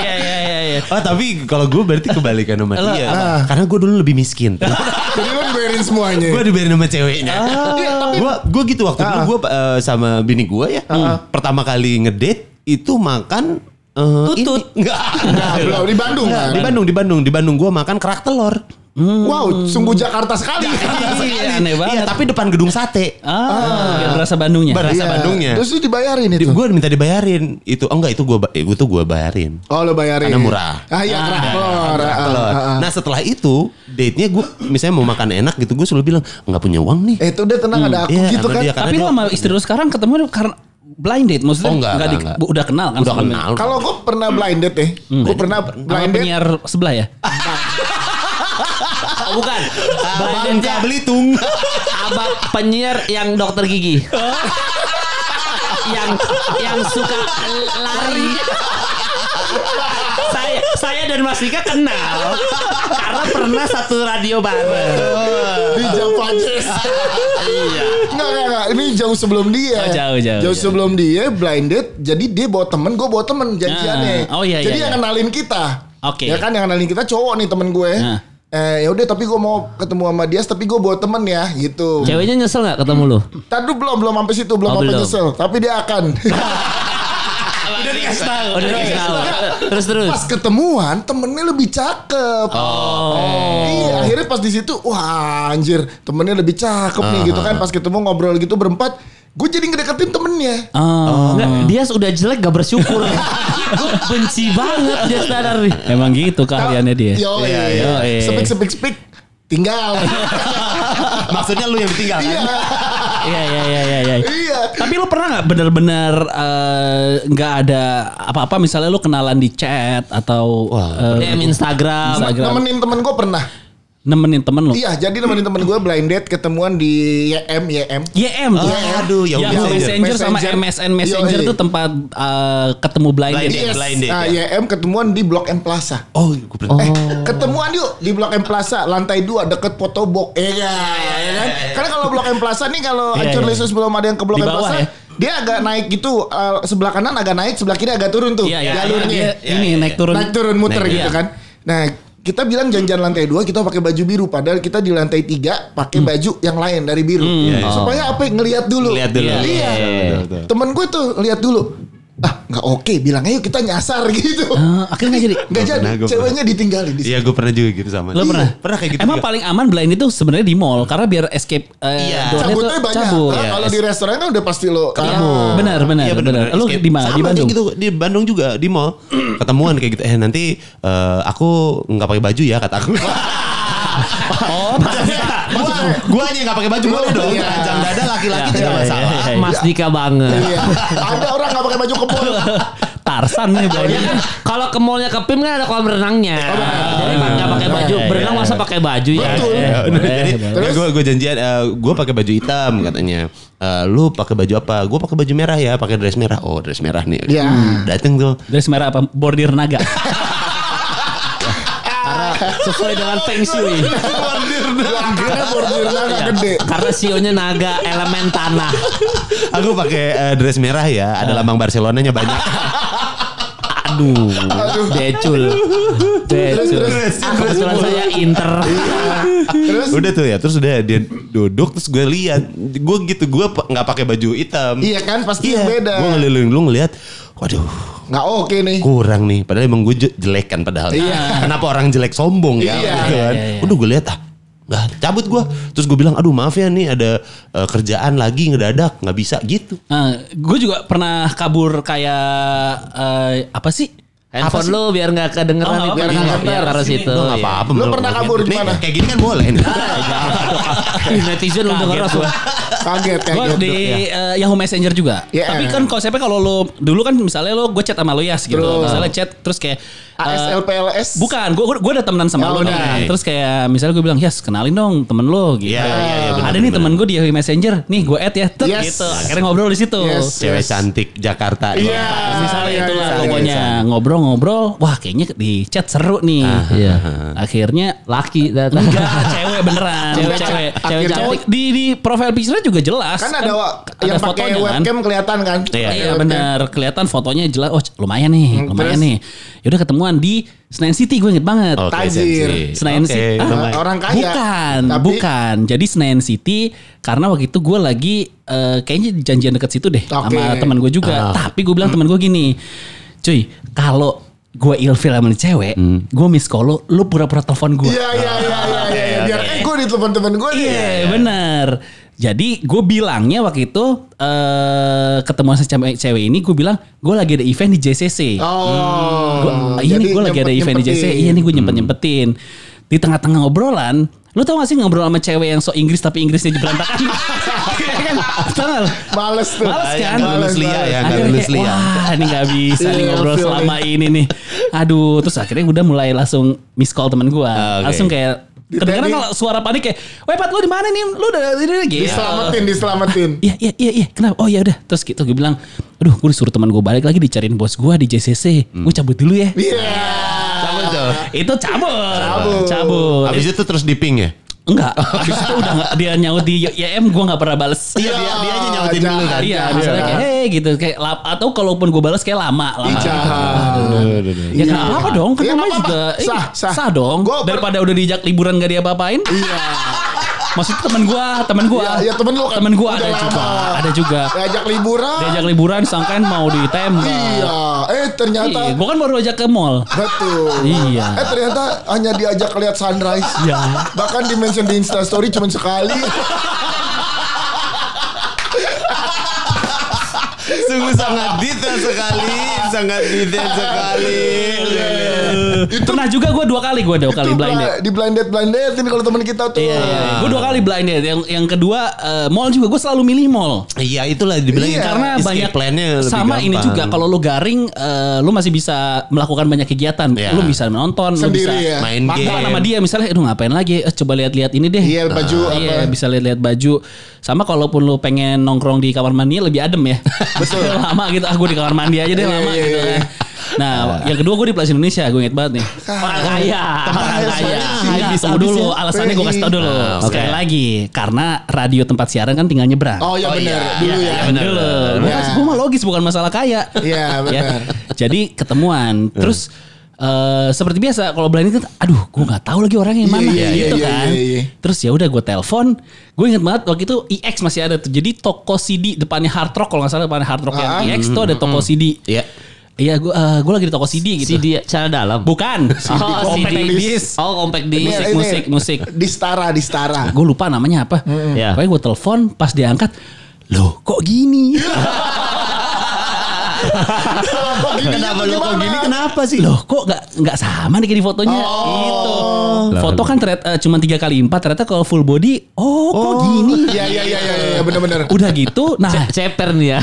[SPEAKER 4] iya iya iya iya
[SPEAKER 1] Oh tapi kalau gue berarti kebalikan sama
[SPEAKER 2] Lah,
[SPEAKER 1] dia.
[SPEAKER 3] apa?
[SPEAKER 1] Karena gue dulu lebih miskin.
[SPEAKER 3] Jadi lu dibayarin semuanya.
[SPEAKER 1] Gue dibayarin sama ceweknya.
[SPEAKER 3] Iya,
[SPEAKER 1] Gue gue Ah. gitu waktu dulu
[SPEAKER 3] Ah.
[SPEAKER 1] gue sama bini gue ya. Pertama kali ngedate itu makan eh,
[SPEAKER 4] Tutut.
[SPEAKER 1] ini. Enggak.
[SPEAKER 3] Nah, belum, di Bandung
[SPEAKER 1] Enggak,
[SPEAKER 3] kan. Hmm.
[SPEAKER 1] Di Bandung, di Bandung, di Bandung gue makan kerak telur.
[SPEAKER 3] Wow, sungguh Jakarta sekali.
[SPEAKER 2] Iya, aneh banget.
[SPEAKER 1] Iya, tapi depan gedung sate.
[SPEAKER 2] Ah, biar berasa Bandungnya.
[SPEAKER 1] Berasa
[SPEAKER 3] Iya.
[SPEAKER 1] Bandungnya.
[SPEAKER 3] Terus lu dibayarin itu.
[SPEAKER 1] Gue minta dibayarin itu. Oh enggak, itu gue itu gua bayarin.
[SPEAKER 3] Oh lo bayarin.
[SPEAKER 1] Karena murah.
[SPEAKER 3] Ah iya kerak telur. Ah,
[SPEAKER 1] Telur.
[SPEAKER 3] ah, ah.
[SPEAKER 1] Nah setelah itu date-nya gue misalnya mau makan enak gitu gue selalu bilang nggak punya uang nih.
[SPEAKER 3] Eh itu udah tenang ada aku
[SPEAKER 1] Iya,
[SPEAKER 3] gitu
[SPEAKER 1] sama
[SPEAKER 3] kan.
[SPEAKER 1] dia, karena
[SPEAKER 2] Tapi lu
[SPEAKER 1] dia-
[SPEAKER 2] sama istri lu sekarang ketemu karena blind date maksudnya
[SPEAKER 1] Oh enggak, enggak,
[SPEAKER 2] di-
[SPEAKER 1] enggak.
[SPEAKER 2] bu- udah kenal kan
[SPEAKER 1] udah
[SPEAKER 2] sebelumnya?
[SPEAKER 1] kenal.
[SPEAKER 3] Kalau gue pernah blinded deh.
[SPEAKER 1] Hmm.
[SPEAKER 3] Gue pernah
[SPEAKER 2] Sama
[SPEAKER 3] blinded.
[SPEAKER 2] penyiar sebelah ya?
[SPEAKER 4] Oh, bukan
[SPEAKER 1] Bangka
[SPEAKER 4] Banditnya
[SPEAKER 1] Belitung.
[SPEAKER 4] abang penyiar yang dokter gigi yang yang suka lari saya saya dan Mas Dika kenal karena pernah satu radio bareng
[SPEAKER 3] Di jam pajes.
[SPEAKER 4] iya
[SPEAKER 3] Enggak, enggak, enggak. Ini jauh sebelum dia.
[SPEAKER 2] Oh, jauh, jauh, jauh.
[SPEAKER 3] sebelum dia blinded. Jadi dia bawa temen, gue bawa temen janjiannya.
[SPEAKER 2] Ah, oh, iya,
[SPEAKER 3] Jadi
[SPEAKER 2] iya,
[SPEAKER 3] yang
[SPEAKER 2] iya.
[SPEAKER 3] kenalin kita.
[SPEAKER 2] Oke.
[SPEAKER 3] Ya kan yang kenalin kita cowok nih temen gue.
[SPEAKER 2] Ah.
[SPEAKER 3] Eh ya udah tapi gue mau ketemu sama dia, tapi gue bawa temen ya gitu.
[SPEAKER 4] ceweknya nyesel nggak ketemu lu
[SPEAKER 3] Tadi belum belum sampai situ belum
[SPEAKER 4] Oh,
[SPEAKER 3] sampai
[SPEAKER 4] belum.
[SPEAKER 3] nyesel, tapi dia akan.
[SPEAKER 2] Udah dikasih tahu.
[SPEAKER 4] udah
[SPEAKER 2] Udah
[SPEAKER 4] kenal terus terus
[SPEAKER 3] pas ketemuan temennya lebih cakep. Oh. Iya, akhirnya pas di situ, wah anjir temennya lebih cakep nih gitu kan. Pas ketemu ngobrol gitu berempat, Gue jadi ngedeketin temennya.
[SPEAKER 2] Oh.
[SPEAKER 4] Nggak, dia sudah jelek gak bersyukur. Gue benci banget dia standar nih.
[SPEAKER 2] Emang gitu keahliannya dia.
[SPEAKER 3] Yo,
[SPEAKER 1] Iya,
[SPEAKER 3] iya,
[SPEAKER 2] iya.
[SPEAKER 3] Sepik, sepik, sepik. Tinggal.
[SPEAKER 1] Maksudnya lu yang ditinggal kan?
[SPEAKER 3] Iya.
[SPEAKER 2] Iya iya iya iya. iya.
[SPEAKER 3] Iya.
[SPEAKER 2] Tapi lu pernah nggak benar-benar eh, nggak ada apa-apa misalnya lu kenalan di chat atau eh,
[SPEAKER 4] DM Instagram.
[SPEAKER 2] Instagram.
[SPEAKER 3] Nemenin temen gue pernah.
[SPEAKER 2] nemenin temen lu?
[SPEAKER 3] Iya, jadi nemenin temen gue blind date ketemuan di YM, YM.
[SPEAKER 2] YM tuh.
[SPEAKER 1] Oh, aduh, ya
[SPEAKER 2] Yahoo
[SPEAKER 1] udah.
[SPEAKER 2] Messenger, sama
[SPEAKER 3] Messenger.
[SPEAKER 2] MSN Messenger
[SPEAKER 3] Yoi.
[SPEAKER 2] tuh tempat eh, ketemu blind,
[SPEAKER 1] Blind
[SPEAKER 2] date.
[SPEAKER 1] date. blind date,
[SPEAKER 3] Nah,
[SPEAKER 1] ya.
[SPEAKER 3] YM ketemuan di Blok M Plaza.
[SPEAKER 1] Oh, gue pernah.
[SPEAKER 3] Eh, ketemuan yuk di Blok M Plaza, lantai 2 deket Potobok. Iya, iya, iya, kan? Karena kalau Blok M Plaza nih kalau
[SPEAKER 2] Iya,
[SPEAKER 3] hancur
[SPEAKER 2] iya.
[SPEAKER 3] lesus belum ada yang ke Blok
[SPEAKER 2] Di
[SPEAKER 3] M
[SPEAKER 2] bawah
[SPEAKER 3] Plaza,
[SPEAKER 2] ya?
[SPEAKER 3] dia agak naik gitu, eh, sebelah kanan agak naik, sebelah kiri agak turun tuh
[SPEAKER 2] Iya iya.
[SPEAKER 3] jalurnya.
[SPEAKER 2] Dia- Ini naik turun.
[SPEAKER 3] Naik turun muter
[SPEAKER 1] Naik,
[SPEAKER 3] gitu
[SPEAKER 2] iya.
[SPEAKER 3] kan. Nah, kita bilang janjian lantai 2 kita pakai baju biru padahal kita di lantai 3 pakai
[SPEAKER 2] Hmm.
[SPEAKER 3] baju yang lain dari biru. Oh.
[SPEAKER 1] Iya, iya.
[SPEAKER 3] Supaya apa? Ngelihat dulu.
[SPEAKER 1] Lihat dulu.
[SPEAKER 2] Iya.
[SPEAKER 3] Iya.
[SPEAKER 1] Iya.
[SPEAKER 3] Temen gue tuh lihat dulu. Ah, nggak oke. Bilang ayo kita nyasar gitu.
[SPEAKER 2] Eh, akhirnya nggak jadi.
[SPEAKER 3] Nggak
[SPEAKER 1] Gua
[SPEAKER 3] jadi.
[SPEAKER 1] pernah, gua
[SPEAKER 3] Ceweknya ditinggalin di
[SPEAKER 1] Iya, gue pernah juga gitu sama.
[SPEAKER 2] Lo
[SPEAKER 1] Iya,
[SPEAKER 2] pernah?
[SPEAKER 1] Pernah kayak gitu.
[SPEAKER 2] Emang
[SPEAKER 1] juga.
[SPEAKER 2] paling aman blind itu sebenarnya di mall karena biar escape eh,
[SPEAKER 1] Iya.
[SPEAKER 2] door-nya tuh
[SPEAKER 3] cabutnya banyak.
[SPEAKER 2] cabut.
[SPEAKER 3] Nah, Kalau di restoran kan udah pasti lo
[SPEAKER 2] Ketemu. Benar, benar,
[SPEAKER 1] Iya,
[SPEAKER 2] benar. Lu
[SPEAKER 1] Kayak
[SPEAKER 2] di mana?
[SPEAKER 1] sama
[SPEAKER 2] Di Bandung.
[SPEAKER 1] kayak gitu di Bandung juga di mall ketemuan kayak gitu. Eh nanti eh, aku nggak pakai baju ya kata aku.
[SPEAKER 2] Oh,
[SPEAKER 1] gua gua aja nggak pakai baju boleh dong.
[SPEAKER 3] Iya.
[SPEAKER 1] Jam dada laki-laki
[SPEAKER 2] Iya,
[SPEAKER 1] tidak
[SPEAKER 2] iya,
[SPEAKER 1] masalah.
[SPEAKER 2] iya, iya.
[SPEAKER 4] Mas Dika banget.
[SPEAKER 3] Iya. Ada orang nggak pakai baju kebun.
[SPEAKER 2] Tarsan nih blind
[SPEAKER 4] Ya kan, kalau ke mallnya ke PIM kan ada kolam renangnya. Jadi nggak pakai baju,
[SPEAKER 2] Oh, Iya, iya,
[SPEAKER 4] berenang
[SPEAKER 2] iya.
[SPEAKER 4] masa pakai baju ya.
[SPEAKER 3] Betul.
[SPEAKER 2] Eh,
[SPEAKER 3] Ah,
[SPEAKER 1] Ya,
[SPEAKER 2] boleh,
[SPEAKER 1] jadi
[SPEAKER 2] boleh.
[SPEAKER 3] Terus?
[SPEAKER 1] gue gue janjian eh, gue pakai baju hitam katanya. Eh, lu pakai baju apa? Gue pakai baju merah ya, pakai dress merah. Oh, dress merah nih.
[SPEAKER 3] Iya.
[SPEAKER 1] Hmm, Dateng tuh.
[SPEAKER 2] Dress merah apa? Bordir naga.
[SPEAKER 4] Sesuai dengan Feng Shui.
[SPEAKER 3] Akhirnya bordirnya
[SPEAKER 2] Iya,
[SPEAKER 3] agak gede.
[SPEAKER 4] Karena sionya naga elemen tanah.
[SPEAKER 1] Aku pakai eh, dress merah ya,
[SPEAKER 2] Ah.
[SPEAKER 1] ada lambang Barcelonanya banyak.
[SPEAKER 4] Aduh, becul.
[SPEAKER 3] Terus
[SPEAKER 4] Becul.
[SPEAKER 3] terus
[SPEAKER 4] Kebetulan saya inter.
[SPEAKER 3] terus.
[SPEAKER 1] udah tuh ya, terus udah dia duduk terus gue lihat, gue gitu gue pa- nggak pakai baju hitam.
[SPEAKER 3] Iya kan pasti beda.
[SPEAKER 1] Gue ngeliling lu ngeliat, waduh
[SPEAKER 3] Nggak oke nih.
[SPEAKER 1] kurang nih. Padahal emang gue je- jelek kan padahal.
[SPEAKER 3] Iya.
[SPEAKER 1] Kenapa orang jelek sombong ya?
[SPEAKER 3] Iya.
[SPEAKER 1] gitu kan.
[SPEAKER 2] Iya, iya, iya.
[SPEAKER 1] Udah gue lihat ah. Nah, cabut gue. Terus gue bilang, aduh maaf ya nih ada eh, kerjaan lagi ngedadak. Nggak bisa gitu.
[SPEAKER 2] Nah, gue juga pernah kabur kayak eh, apa sih?
[SPEAKER 4] Handphone lu biar nggak kedengeran
[SPEAKER 2] Oh,
[SPEAKER 4] nih,
[SPEAKER 2] apa,
[SPEAKER 4] biar
[SPEAKER 3] iya,
[SPEAKER 4] nggak
[SPEAKER 3] iya,
[SPEAKER 4] biar harus itu.
[SPEAKER 2] Oh,
[SPEAKER 1] Gue nggak apa-apa.
[SPEAKER 3] Lu
[SPEAKER 1] Mel.
[SPEAKER 3] pernah
[SPEAKER 1] Nggak
[SPEAKER 3] kabur
[SPEAKER 1] gitu.
[SPEAKER 3] di
[SPEAKER 1] Nih,
[SPEAKER 3] mana?
[SPEAKER 1] Kayak gini kan boleh.
[SPEAKER 2] Iya,
[SPEAKER 1] nih.
[SPEAKER 4] Ih, Netizen lu
[SPEAKER 2] Kaget
[SPEAKER 4] keras
[SPEAKER 2] gua.
[SPEAKER 4] gua.
[SPEAKER 3] Kaget kayak
[SPEAKER 2] Gue
[SPEAKER 3] gitu.
[SPEAKER 2] di eh, Yahoo Messenger juga.
[SPEAKER 3] Iya.
[SPEAKER 2] Tapi kan konsepnya kalau lo dulu kan misalnya lo gue chat sama lo Yas gitu.
[SPEAKER 3] Betul.
[SPEAKER 2] Misalnya chat terus kayak eh,
[SPEAKER 3] ASLPLS.
[SPEAKER 2] Bukan, gue gue ada temenan sama
[SPEAKER 3] Ya
[SPEAKER 2] lo
[SPEAKER 3] udah.
[SPEAKER 2] nih. Terus kayak misalnya gue bilang, "Yas, kenalin dong temen lo." gitu.
[SPEAKER 3] Ya,
[SPEAKER 1] Iya, iya, iya, benar,
[SPEAKER 2] ada nih
[SPEAKER 1] benar.
[SPEAKER 2] temen gue di Yahoo Messenger. Nih, gue add ya. Tet,
[SPEAKER 3] Yes.
[SPEAKER 2] gitu. Akhirnya ngobrol di situ.
[SPEAKER 3] Yes.
[SPEAKER 1] Cewek cantik Jakarta.
[SPEAKER 3] Iya.
[SPEAKER 2] Misalnya
[SPEAKER 3] Iya,
[SPEAKER 2] itu
[SPEAKER 3] iya,
[SPEAKER 2] lah
[SPEAKER 3] iya,
[SPEAKER 2] pokoknya ngobrol-ngobrol, wah kayaknya di chat seru nih.
[SPEAKER 3] Ah,
[SPEAKER 2] Iya. Akhirnya
[SPEAKER 4] Laki datang.
[SPEAKER 2] enggak cewek beneran, cewek cewek,
[SPEAKER 4] Akhirnya-
[SPEAKER 2] cantik. Di di profil picture juga jelas.
[SPEAKER 3] Kan ada wa-
[SPEAKER 2] ada
[SPEAKER 3] yang pakai
[SPEAKER 2] fotonya kan.
[SPEAKER 3] webcam kelihatan kan?
[SPEAKER 1] Iya.
[SPEAKER 3] Pakai
[SPEAKER 2] Iya
[SPEAKER 3] webcam.
[SPEAKER 2] benar kelihatan fotonya jelas oh lumayan nih
[SPEAKER 3] Hmm,
[SPEAKER 2] lumayan
[SPEAKER 3] terus?
[SPEAKER 2] nih yaudah ketemuan di Senayan City gue inget banget
[SPEAKER 1] Oke,
[SPEAKER 3] iya. Tajir. Oh,
[SPEAKER 1] sensi.
[SPEAKER 2] Senayan
[SPEAKER 1] Oke,
[SPEAKER 2] City. Ah,
[SPEAKER 1] lumayan.
[SPEAKER 3] Orang kaya.
[SPEAKER 2] Bukan,
[SPEAKER 3] Tapi-
[SPEAKER 2] bukan. Jadi Senayan City karena waktu itu gue lagi eh, kayaknya janjian deket situ deh
[SPEAKER 3] Oke. Ah.
[SPEAKER 2] sama teman gue juga. Tapi gue bilang teman gue gini, cuy kalau gue ilfil sama nih cewek, gue miss call lu, lu pura-pura telepon gue.
[SPEAKER 3] Iya iya iya iya iya. iya. Biar eh gue di teman teman gue nih.
[SPEAKER 2] Iya bener. Jadi gue bilangnya waktu itu eh ketemu sama cewek, cewek ini gue bilang gue lagi ada event di JCC.
[SPEAKER 3] Oh.
[SPEAKER 2] Gua, iya nih
[SPEAKER 3] jadi
[SPEAKER 2] gue lagi ada event di JC.
[SPEAKER 3] nyempet-nyempetin.
[SPEAKER 2] Iya nih gue nyempet nyempetin. Di tengah-tengah obrolan, lu tau gak sih ngobrol sama cewek yang sok Inggris tapi Inggrisnya berantakan? Iya kan? Tau gak lu?
[SPEAKER 3] Males tuh.
[SPEAKER 2] Males
[SPEAKER 1] Ah,
[SPEAKER 2] kan?
[SPEAKER 1] yang nggak lulus lia ya, nggak
[SPEAKER 2] Akhirnya
[SPEAKER 1] lulus
[SPEAKER 2] kayak,
[SPEAKER 1] lia.
[SPEAKER 2] Wah ini gak bisa nih
[SPEAKER 3] Iya,
[SPEAKER 2] ngobrol
[SPEAKER 3] feeling.
[SPEAKER 2] selama ini nih. Aduh, terus akhirnya udah mulai langsung miss call temen gue.
[SPEAKER 1] Ah, oke.
[SPEAKER 2] Langsung kayak kedengeran
[SPEAKER 3] Ditanding.
[SPEAKER 2] kalau suara panik kayak, "Weh, Pat, lu di mana nih? Lu udah ini ini- gitu."
[SPEAKER 3] Diselamatin diselamatin.
[SPEAKER 2] Iya iya iya iya kenapa? Oh ya udah terus gitu gue bilang, aduh gue disuruh teman gue balik lagi dicariin bos gue di JCC,
[SPEAKER 1] Hmm.
[SPEAKER 2] gue cabut dulu ya.
[SPEAKER 3] Iya.
[SPEAKER 1] Sama Oh, tuh.
[SPEAKER 2] itu cabut
[SPEAKER 3] Cabut.
[SPEAKER 2] cabut
[SPEAKER 1] Abis itu terus di ping ya?
[SPEAKER 2] enggak abis itu udah nggak- dia nyaut di YM gue nggak pernah bales
[SPEAKER 1] Iya, dia, dia aja nyautin
[SPEAKER 3] jangan.
[SPEAKER 1] dulu kan.
[SPEAKER 2] iya
[SPEAKER 3] iya.
[SPEAKER 2] misalnya kayak hey gitu kayak lap- atau kalaupun gue balas kayak lama lama
[SPEAKER 3] Ih, jahat.
[SPEAKER 2] ya
[SPEAKER 3] Iya.
[SPEAKER 2] nggak apa-apa dong kan
[SPEAKER 3] Iya,
[SPEAKER 2] namanya
[SPEAKER 3] nggak
[SPEAKER 2] juga eh,
[SPEAKER 3] apa-apa. Sah, sah.
[SPEAKER 2] dong
[SPEAKER 3] Gua ber-
[SPEAKER 2] daripada udah diajak liburan gak diapa-apain
[SPEAKER 3] Iya.
[SPEAKER 2] maksudnya temen gue temen gue
[SPEAKER 3] Iya, iya, temen lu kan
[SPEAKER 2] temen gue
[SPEAKER 3] udah
[SPEAKER 2] ada
[SPEAKER 3] lama.
[SPEAKER 2] juga ada juga
[SPEAKER 3] Diajak liburan.
[SPEAKER 2] diajak liburan sangkain mau ditembak
[SPEAKER 3] Iya. Eh ternyata
[SPEAKER 2] Iya, gue kan baru ajak ke mall
[SPEAKER 3] Betul.
[SPEAKER 2] Iya.
[SPEAKER 3] Eh ternyata hanya diajak lihat sunrise.
[SPEAKER 2] Iya.
[SPEAKER 3] Bahkan di mention di Instastory cuma sekali.
[SPEAKER 1] Sungguh sangat detail sekali, sangat detail sekali. Iya.
[SPEAKER 2] Pernah juga gue dua kali gue dua kali
[SPEAKER 3] Itu
[SPEAKER 2] blind date.
[SPEAKER 3] Di blind date blind date ini kalau teman kita tuh.
[SPEAKER 2] Iya, iya. gue dua kali blind date. Yang yang kedua eh, mall juga gue selalu milih mall.
[SPEAKER 1] Iya itulah dibilang
[SPEAKER 3] Iya,
[SPEAKER 2] Karena banyak
[SPEAKER 1] plan-nya lebih
[SPEAKER 2] sama ini
[SPEAKER 1] gampang.
[SPEAKER 2] juga kalau lu garing eh, lu masih bisa melakukan banyak kegiatan.
[SPEAKER 1] Iya.
[SPEAKER 2] Lu bisa nonton,
[SPEAKER 3] Sendiri
[SPEAKER 2] lu bisa
[SPEAKER 3] ya.
[SPEAKER 1] main
[SPEAKER 2] Makan
[SPEAKER 1] game
[SPEAKER 2] sama dia misalnya aduh ngapain lagi Eh, coba lihat-lihat ini deh
[SPEAKER 3] Iya, baju
[SPEAKER 2] Nah, iya,
[SPEAKER 3] apa.
[SPEAKER 2] bisa lihat-lihat baju sama kalaupun lu pengen nongkrong di kamar mandi lebih adem ya betul lama gitu ah gue di kamar mandi aja deh
[SPEAKER 3] Iya,
[SPEAKER 2] lama
[SPEAKER 3] iya,
[SPEAKER 2] gitu
[SPEAKER 3] iya.
[SPEAKER 2] kan nah yang kedua gue di Plaza Indonesia gue inget banget nih orang kaya orang kaya
[SPEAKER 3] habis-habis
[SPEAKER 2] Nggak,
[SPEAKER 1] habis-habis
[SPEAKER 2] tunggu dulu
[SPEAKER 1] ya.
[SPEAKER 2] alasannya gue kasih tau dulu
[SPEAKER 1] Ah, oke.
[SPEAKER 2] sekali lagi karena radio tempat siaran kan tinggal nyebrang
[SPEAKER 3] Oh ya
[SPEAKER 1] Oh,
[SPEAKER 3] benar
[SPEAKER 1] iya.
[SPEAKER 3] dulu
[SPEAKER 1] Iya,
[SPEAKER 3] ya.
[SPEAKER 1] benar.
[SPEAKER 2] Dulu. Gua
[SPEAKER 3] Iya.
[SPEAKER 2] kan- gua mah logis bukan masalah kaya. Ya.
[SPEAKER 3] Iya, benar. Iya.
[SPEAKER 2] Jadi ketemuan. Terus eh, seperti biasa kalau blind date, aduh gue nggak tahu lagi orangnya yang
[SPEAKER 3] Iya,
[SPEAKER 2] mana
[SPEAKER 3] iya,
[SPEAKER 2] gitu
[SPEAKER 3] iya,
[SPEAKER 2] kan.
[SPEAKER 3] iya, iya.
[SPEAKER 2] Terus ya udah gue telepon. Gue inget banget waktu itu IX masih ada tuh. Jadi toko CD depannya Hard Rock kalau nggak salah depannya Hard Rock yang
[SPEAKER 3] Ah.
[SPEAKER 2] IX tuh ada toko CD.
[SPEAKER 1] Iya.
[SPEAKER 2] Iya gue eh, gue lagi di toko CD gitu.
[SPEAKER 4] Si dia cara dalam.
[SPEAKER 2] Bukan.
[SPEAKER 4] Oh,
[SPEAKER 2] compact
[SPEAKER 4] CD.
[SPEAKER 2] disc.
[SPEAKER 4] Oh, compact disc.
[SPEAKER 3] Iya,
[SPEAKER 2] Musik,
[SPEAKER 3] ini.
[SPEAKER 2] musik, musik.
[SPEAKER 3] Di Stara, di Stara.
[SPEAKER 2] Gue lupa namanya apa.
[SPEAKER 4] Iya.
[SPEAKER 2] Pokoknya gue telepon pas diangkat. Loh kok gini?
[SPEAKER 1] Kenapa lu kok gini kenapa sih?
[SPEAKER 2] loh kok nggak nggak sama nih kayak di fotonya gitu foto kan ternyata eh, cuma tiga kali empat ternyata kalau full body oh, kok gini
[SPEAKER 3] Iya iya iya iya iya benar-benar.
[SPEAKER 2] udah gitu nah
[SPEAKER 4] Ce- Ceper nih ya.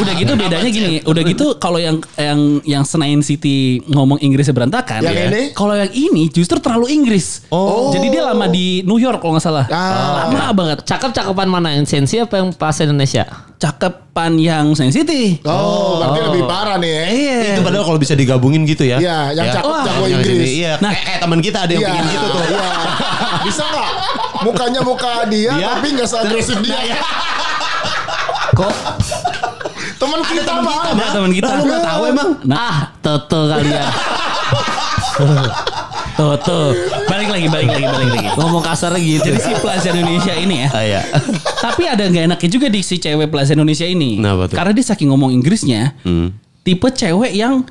[SPEAKER 2] udah gitu bedanya gini udah gitu kalau yang yang yang Senayan City ngomong Inggrisnya berantakan
[SPEAKER 3] Yang ini?
[SPEAKER 2] kalau yang ini justru terlalu Inggris
[SPEAKER 3] Oh.
[SPEAKER 2] jadi dia lama di New York kalau nggak salah
[SPEAKER 3] Ah.
[SPEAKER 2] lama banget
[SPEAKER 4] Cakep-cakepan mana? Yang sensi apa yang pas Indonesia?
[SPEAKER 2] cakepan yang Senayan City
[SPEAKER 3] Oh, berarti lebih parah nih ya.
[SPEAKER 2] Iya,
[SPEAKER 1] Itu padahal kalau bisa digabungin gitu ya.
[SPEAKER 3] Iya, yang cakep
[SPEAKER 1] Wah,
[SPEAKER 3] jago
[SPEAKER 1] yang
[SPEAKER 3] Inggris.
[SPEAKER 1] sini, Iya,
[SPEAKER 2] Nah.
[SPEAKER 1] kayak kayak teman kita ada yang
[SPEAKER 3] Iya.
[SPEAKER 1] bikin gitu tuh.
[SPEAKER 3] Iya. Bisa nggak? Mukanya muka dia,
[SPEAKER 1] Iya. nah, ya.
[SPEAKER 3] tapi nggak seagresif dia.
[SPEAKER 4] Kok?
[SPEAKER 3] Teman kita mah.
[SPEAKER 2] ada Nah, teman kita
[SPEAKER 1] Lah, lu nggak tahu emang?
[SPEAKER 2] nah
[SPEAKER 4] Ah, Toto kali ya.
[SPEAKER 2] tuh tuh balik lagi balik lagi balik lagi
[SPEAKER 4] Ngomong kasar
[SPEAKER 2] Jadi
[SPEAKER 4] gitu.
[SPEAKER 2] si Plaza Indonesia ini ya.
[SPEAKER 1] Ah, iya.
[SPEAKER 2] Tapi ada nggak enaknya juga di si cewek Plaza Indonesia ini.
[SPEAKER 1] Kenapa tuh? Hmm.
[SPEAKER 2] Karena dia saking ngomong Inggrisnya, tipe cewek yang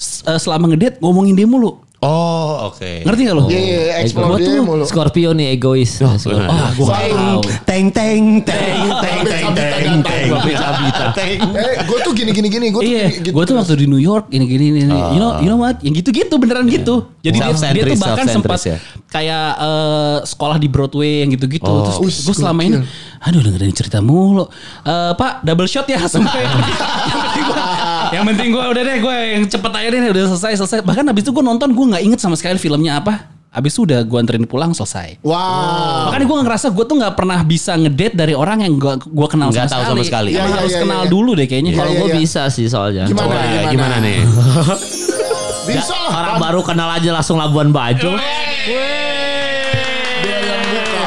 [SPEAKER 2] s- eh, selama ngedate ngomongin dia mulu.
[SPEAKER 1] Oh, oke.
[SPEAKER 2] Ngerti gak lo?
[SPEAKER 3] Iya, iya,
[SPEAKER 2] Gua
[SPEAKER 3] explore dia
[SPEAKER 2] tuh-
[SPEAKER 3] mulu.
[SPEAKER 4] Scorpio nih egois. Oh,
[SPEAKER 2] Ah, gua nggak tahu.
[SPEAKER 1] Teng teng teng teng teng teng teng. Cabita.
[SPEAKER 3] Eh, gue tuh gini gini gini, gue tuh
[SPEAKER 2] Iya,
[SPEAKER 3] gini, gitu.
[SPEAKER 2] gue tuh waktu di New York ini gini ini, ini. you know
[SPEAKER 1] Ah.
[SPEAKER 2] you know what, yang gitu-gitu beneran gitu. Jadi dia, dia
[SPEAKER 1] Self-centris,
[SPEAKER 2] tuh bahkan sempat
[SPEAKER 1] self-centris Iya. ya.
[SPEAKER 2] kayak eh, sekolah di Broadway yang gitu-gitu.
[SPEAKER 1] Oh.
[SPEAKER 3] Wih,
[SPEAKER 2] Terus gue selama ini, aduh dengerin cerita mulu. Eh, Pak double shot ya sampai. yang penting gua- yang penting gue udah deh gue yang cepet aja deh udah selesai selesai. Bahkan habis itu gue nonton gue nggak inget sama sekali filmnya apa. Habis itu udah gue anterin pulang selesai.
[SPEAKER 3] Wah.
[SPEAKER 2] Makanya gue ngerasa gue tuh nggak pernah bisa ngedate dari orang yang gue gua kenal
[SPEAKER 1] Nggak tahu sama sekali.
[SPEAKER 2] Emang
[SPEAKER 3] Iya, iya,
[SPEAKER 2] harus
[SPEAKER 3] iya,
[SPEAKER 2] kenal
[SPEAKER 3] iya.
[SPEAKER 2] dulu deh kayaknya.
[SPEAKER 4] Kalau
[SPEAKER 3] Iya,
[SPEAKER 4] gue
[SPEAKER 3] iya.
[SPEAKER 4] bisa sih soalnya.
[SPEAKER 3] Gimana?
[SPEAKER 1] Coba ya,
[SPEAKER 3] Gimana?
[SPEAKER 1] gimana nih?
[SPEAKER 3] Bisa.
[SPEAKER 4] Orang baru kenal aja langsung Labuan Bajo.
[SPEAKER 3] Iya, Dia yang buka.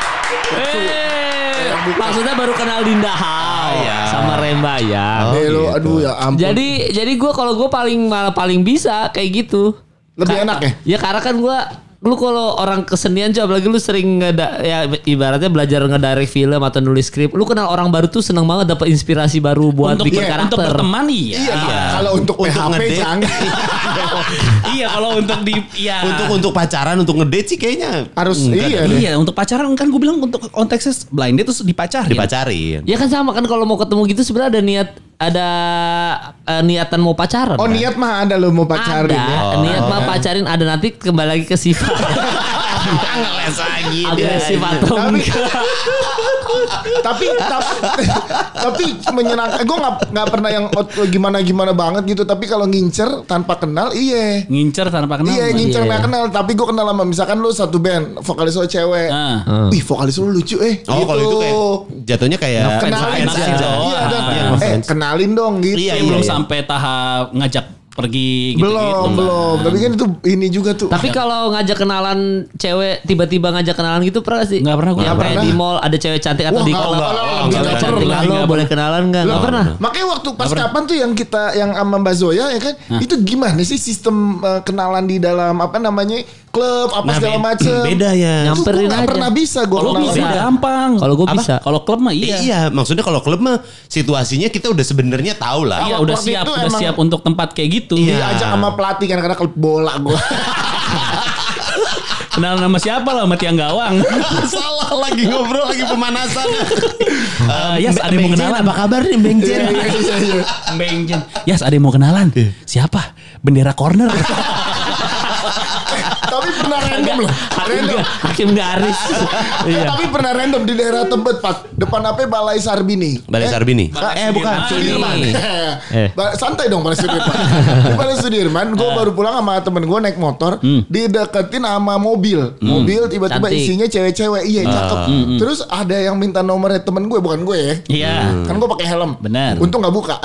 [SPEAKER 4] Eh,
[SPEAKER 3] iya.
[SPEAKER 4] Maksudnya baru kenal Dinda Hao
[SPEAKER 1] iya.
[SPEAKER 4] sama Remba
[SPEAKER 2] Oh,
[SPEAKER 4] ya.
[SPEAKER 3] Eh, lu,
[SPEAKER 2] gitu.
[SPEAKER 3] aduh ya ampun.
[SPEAKER 4] Jadi jadi gue kalau gue paling malah paling bisa kayak gitu.
[SPEAKER 3] Lebih
[SPEAKER 4] Ka-
[SPEAKER 3] enak ya?
[SPEAKER 4] Ya karena kan gue lu kalau orang kesenian coba lagi lu sering ngeda ya ibaratnya belajar ngedirect film atau nulis skrip lu kenal orang baru tuh seneng banget dapat inspirasi baru buat
[SPEAKER 2] untuk
[SPEAKER 4] bikin
[SPEAKER 2] iya,
[SPEAKER 4] karakter
[SPEAKER 2] untuk berteman iya.
[SPEAKER 3] iya, kalau untuk,
[SPEAKER 1] Untuk
[SPEAKER 3] PHP
[SPEAKER 1] ngedate.
[SPEAKER 3] jangan.
[SPEAKER 2] iya kalau untuk di iya.
[SPEAKER 1] Untuk untuk pacaran, untuk ngedate sih kayaknya
[SPEAKER 3] Harus
[SPEAKER 1] Enggak,
[SPEAKER 3] iya. deh.
[SPEAKER 2] iya untuk pacaran kan gue bilang untuk konteksnya blind date terus dipacarin.
[SPEAKER 1] dipacarin.
[SPEAKER 4] ya kan sama kan kalau mau ketemu gitu sebenarnya ada niat ada eh, niatan mau pacaran
[SPEAKER 3] Oh
[SPEAKER 4] kan?
[SPEAKER 3] niat mah ada lo mau pacarin
[SPEAKER 4] ada
[SPEAKER 3] ya.
[SPEAKER 4] niat mah pacarin ada nanti kembali lagi ke sifat
[SPEAKER 1] Ngeles lagi
[SPEAKER 4] agresif atau
[SPEAKER 3] Tapi
[SPEAKER 4] Oh, enggak
[SPEAKER 3] tapi tapi, tapi menyenangkan. Gue nggak nggak pernah yang gimana gimana banget gitu. Tapi kalau ngincer tanpa kenal, iya.
[SPEAKER 2] Ngincer tanpa kenal.
[SPEAKER 3] Iya
[SPEAKER 2] Bang.
[SPEAKER 3] ngincer
[SPEAKER 4] Iya.
[SPEAKER 3] nggak kenal tapi gue kenal sama misalkan lu satu band vokalis lu cewek.
[SPEAKER 2] Ah.
[SPEAKER 3] Wih vokalis lu lucu eh.
[SPEAKER 1] Oh kalau itu kayak jatuhnya kayak
[SPEAKER 3] kenalin
[SPEAKER 2] fans aja.
[SPEAKER 3] Iya, dan,
[SPEAKER 1] Iya,
[SPEAKER 3] eh
[SPEAKER 1] fans.
[SPEAKER 3] kenalin dong gitu.
[SPEAKER 1] Iya,
[SPEAKER 2] Tapi
[SPEAKER 1] iya.
[SPEAKER 2] belum gitu, sampai tahap ngajak pergi gitu-gitu.
[SPEAKER 3] belum
[SPEAKER 2] Bang.
[SPEAKER 3] belum. Tapi kan itu ini juga tuh.
[SPEAKER 2] Iya.
[SPEAKER 4] Tapi kalau ngajak kenalan cewek tiba-tiba ngajak kenalan gitu pernah nggak sih?
[SPEAKER 2] Nggak pernah, gua
[SPEAKER 4] Yang
[SPEAKER 2] nggak
[SPEAKER 4] kayak
[SPEAKER 3] pernah.
[SPEAKER 4] di mall ada cewek cantik
[SPEAKER 3] Wah,
[SPEAKER 4] atau di
[SPEAKER 3] nggak,
[SPEAKER 4] klub
[SPEAKER 3] nggak, nggak,
[SPEAKER 4] cewek
[SPEAKER 3] nggak
[SPEAKER 4] cantik
[SPEAKER 2] pernah,
[SPEAKER 4] lah lo
[SPEAKER 2] nggak
[SPEAKER 4] boleh kenalan nggak? Nggak pernah.
[SPEAKER 3] Makanya waktu pas kapan tuh yang kita yang sama Mbak Zoya ya kan itu gimana sih sistem eh, kenalan di dalam apa namanya klub apa
[SPEAKER 1] Nah,
[SPEAKER 3] segala
[SPEAKER 1] be-
[SPEAKER 3] macem
[SPEAKER 1] beda ya.
[SPEAKER 3] Itu gue
[SPEAKER 4] Nyamperin
[SPEAKER 3] nggak
[SPEAKER 4] aja.
[SPEAKER 3] pernah bisa gue
[SPEAKER 2] Kalau Oh, bisa
[SPEAKER 4] Beda.
[SPEAKER 2] gampang.
[SPEAKER 4] Kalau gua
[SPEAKER 2] Apa?
[SPEAKER 4] bisa.
[SPEAKER 2] Kalau klub mah iya.
[SPEAKER 1] Iya. maksudnya kalau klub mah situasinya kita udah sebenarnya tahu lah.
[SPEAKER 2] Iya,
[SPEAKER 3] Kalau
[SPEAKER 2] udah
[SPEAKER 3] waktu
[SPEAKER 2] siap,
[SPEAKER 3] itu
[SPEAKER 2] udah
[SPEAKER 3] emang-
[SPEAKER 2] siap untuk tempat kayak gitu.
[SPEAKER 1] Iya.
[SPEAKER 3] diajak sama pelatih kan karena klub bola gue.
[SPEAKER 2] Kenal nama siapa lah sama tiang gawang.
[SPEAKER 3] Iya.
[SPEAKER 1] Salah lagi ngobrol lagi pemanasan.
[SPEAKER 2] Eh, yes, ada yang mau kenalan. Iya.
[SPEAKER 1] Apa kabar nih Bang Jen?
[SPEAKER 2] Benjen. Yes, ada yang mau kenalan.
[SPEAKER 3] Iya.
[SPEAKER 2] Siapa? Bendera corner.
[SPEAKER 3] Tapi pernah random loh.
[SPEAKER 4] Hakim,
[SPEAKER 3] Random.
[SPEAKER 4] Ga- Hakim Garis.
[SPEAKER 2] Iya.
[SPEAKER 3] Tapi pernah random di daerah Tebet, Pak. Depan apa ya? Balai Sarbini.
[SPEAKER 1] Balai
[SPEAKER 3] Eh,
[SPEAKER 1] Sarbini.
[SPEAKER 2] Balai Sudirman.
[SPEAKER 3] Sudirman. Ah, iya.
[SPEAKER 1] Eh.
[SPEAKER 3] Ba- Santai dong Balai Sudirman. Di Balai Sudirman, gue baru pulang sama temen gue naik motor, dideketin sama mobil. Mobil tiba-tiba
[SPEAKER 4] Cantik.
[SPEAKER 3] isinya cewek-cewek, iya cakep. Terus ada yang minta nomornya temen gue, bukan gue ya.
[SPEAKER 2] Iya.
[SPEAKER 3] Kan gue pakai helm.
[SPEAKER 2] Benar.
[SPEAKER 3] Untung nggak buka.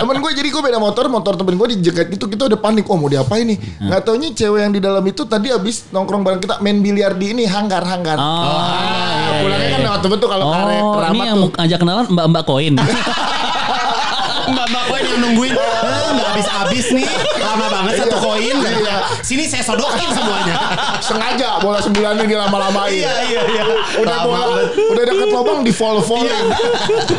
[SPEAKER 3] temen gue jadi gue beda motor, motor temen gue dijegat gitu kita udah panik. Oh mau diapain nih? Nggak taunya cewek yang di dalam itu tadi abis nongkrong bareng kita main biliar di ini hanggar hanggar. Ah, iya,
[SPEAKER 2] Oh.
[SPEAKER 3] Pulangnya kan lewat Tebet tuh kalau karet
[SPEAKER 2] Oh, ini
[SPEAKER 3] keramat
[SPEAKER 2] yang
[SPEAKER 3] tuh.
[SPEAKER 2] mau ngajak kenalan Mbak-mbak koin.
[SPEAKER 1] Mbak Mbak koin yang nungguin. Eh, Nggak habis-habis nih. Lama banget satu koin.
[SPEAKER 3] Iya.
[SPEAKER 1] Sini saya sodokin semuanya.
[SPEAKER 3] sengaja bola sembilan ini dilama-lamain.
[SPEAKER 1] Iya iya iya.
[SPEAKER 3] Udah
[SPEAKER 1] Lama
[SPEAKER 3] bola,
[SPEAKER 1] banget. Iya.
[SPEAKER 3] udah deket lubang di fall fallin.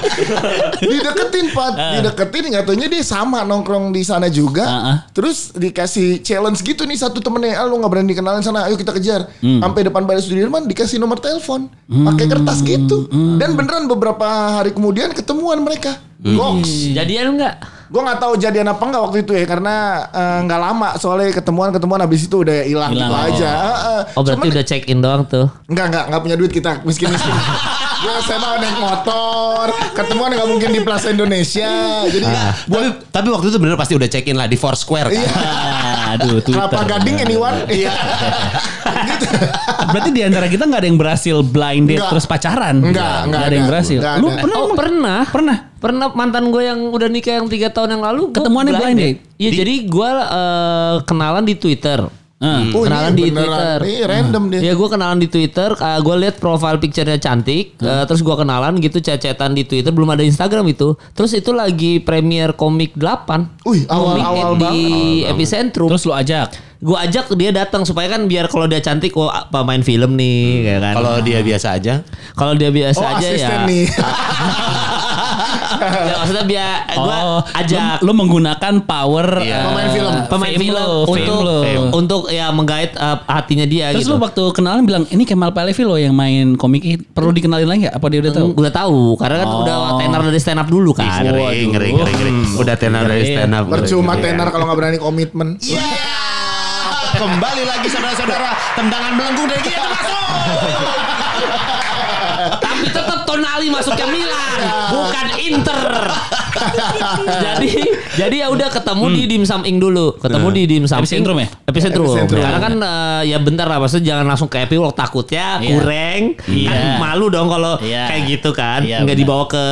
[SPEAKER 3] dideketin Pat,
[SPEAKER 1] Ah.
[SPEAKER 3] dideketin nggak taunya dia sama nongkrong di sana juga.
[SPEAKER 2] Ah, ah.
[SPEAKER 3] Terus dikasih challenge gitu nih satu temennya, ah, lu nggak berani kenalin sana, ayo kita kejar.
[SPEAKER 1] Hmm.
[SPEAKER 3] Sampai depan Baris Sudirman dikasih nomor telepon, pakai kertas gitu.
[SPEAKER 1] hmm,
[SPEAKER 3] Dan beneran beberapa hari kemudian ketemuan mereka. Goks.
[SPEAKER 4] Jadian enggak?
[SPEAKER 3] Gue nggak tahu jadian apa nggak waktu itu ya karena eh, nggak lama soalnya ketemuan ketemuan abis itu udah hilang
[SPEAKER 2] Hilang,
[SPEAKER 3] gitu
[SPEAKER 2] oh.
[SPEAKER 3] aja. Eh, eh.
[SPEAKER 4] Oh berarti
[SPEAKER 3] Cuman-
[SPEAKER 4] udah check in doang tuh.
[SPEAKER 3] Enggak, enggak, enggak punya duit kita miskin-miskin. Gue SMA naik motor, ketemuan nggak mungkin di Plaza Indonesia. Jadi
[SPEAKER 4] Ah.
[SPEAKER 1] Tapi tapi waktu itu bener pasti udah check in lah di Foursquare kan.
[SPEAKER 2] Aduh, Twitter.
[SPEAKER 3] iya. kelapa gading anyone? Iya. gitu.
[SPEAKER 2] Berarti di antara kita nggak ada yang berhasil blind date
[SPEAKER 3] Nggak.
[SPEAKER 2] terus pacaran.
[SPEAKER 3] Nggak,
[SPEAKER 2] Nggak
[SPEAKER 3] nggak
[SPEAKER 2] ada yang
[SPEAKER 3] ada.
[SPEAKER 2] berhasil.
[SPEAKER 3] Nggak
[SPEAKER 2] Lu
[SPEAKER 3] ada.
[SPEAKER 2] pernah
[SPEAKER 4] Oh
[SPEAKER 2] emang?
[SPEAKER 4] pernah.
[SPEAKER 2] Pernah.
[SPEAKER 4] Pernah mantan gue yang udah nikah yang tiga tahun yang lalu gua
[SPEAKER 2] Ketemuannya blind date?
[SPEAKER 4] Iya jadi gue kenalan di Twitter.
[SPEAKER 2] Heeh.
[SPEAKER 3] Oh, ini
[SPEAKER 4] Hmm, kenalan di
[SPEAKER 3] beneran.
[SPEAKER 4] Twitter.
[SPEAKER 3] Ini random dia.
[SPEAKER 4] Ya gue kenalan di Twitter, eh, gue lihat profile picture-nya cantik,
[SPEAKER 3] Hmm.
[SPEAKER 4] eh, terus gue kenalan gitu cecetan di Twitter, belum ada Instagram itu. Terus itu lagi premier komik 8.
[SPEAKER 3] Wih, awal-awal
[SPEAKER 4] Komik di Epicentrum.
[SPEAKER 2] Terus lu ajak.
[SPEAKER 4] Gue ajak dia datang supaya kan biar kalau dia cantik, wah pemain film nih, kayak kan.
[SPEAKER 1] Kalau dia biasa aja.
[SPEAKER 4] Kalau dia biasa
[SPEAKER 3] Hmm. Oh,
[SPEAKER 4] aja
[SPEAKER 3] asisten
[SPEAKER 4] ya.
[SPEAKER 3] nih.
[SPEAKER 4] ya maksudnya biar gue
[SPEAKER 2] Oh,
[SPEAKER 4] ajak.
[SPEAKER 2] Lu, lu menggunakan power
[SPEAKER 1] Iya.
[SPEAKER 2] eh,
[SPEAKER 3] Pemain film.
[SPEAKER 4] pemain
[SPEAKER 2] fame
[SPEAKER 4] film
[SPEAKER 2] lu, fame
[SPEAKER 4] untuk
[SPEAKER 2] lu.
[SPEAKER 4] untuk ya menggait eh, hatinya dia
[SPEAKER 2] Terus
[SPEAKER 4] gitu.
[SPEAKER 2] lu waktu kenalan bilang ini Kemal Palevi lo yang main komik ini. perlu dikenalin lagi nggak? Apa dia udah tahu?
[SPEAKER 4] Gue udah tahu karena kan udah
[SPEAKER 3] Oh.
[SPEAKER 4] tenar dari stand up
[SPEAKER 3] Iya,
[SPEAKER 4] dulu
[SPEAKER 1] Ih,
[SPEAKER 4] kan.
[SPEAKER 1] ngeri, ngeri, ngeri, ngeri. Udah tenar dari stand up. Iya.
[SPEAKER 3] Percuma
[SPEAKER 1] Ngeri, ngeri.
[SPEAKER 3] tenar kalau nggak berani komitmen.
[SPEAKER 1] Iya. Kembali lagi saudara-saudara. Tendangan melengkung dari kita masuk.
[SPEAKER 4] Tapi tetap Tonali masuknya Milan, bukan Inter. jadi jadi ya udah ketemu di Dim Saming dulu, ketemu di Dim
[SPEAKER 2] Hmm.
[SPEAKER 4] Saming.
[SPEAKER 2] Iya. Epicentrum ya?
[SPEAKER 4] Epicentrum.
[SPEAKER 3] Epicentrum.
[SPEAKER 4] Karena kan eh, ya bentar lah maksudnya jangan langsung ke Epilog takutnya
[SPEAKER 2] Iya.
[SPEAKER 4] kurang.
[SPEAKER 2] Iya.
[SPEAKER 4] Kan malu dong kalau
[SPEAKER 2] Iya.
[SPEAKER 4] kayak gitu kan.
[SPEAKER 2] Iya,
[SPEAKER 4] Nggak
[SPEAKER 2] benar.
[SPEAKER 4] dibawa ke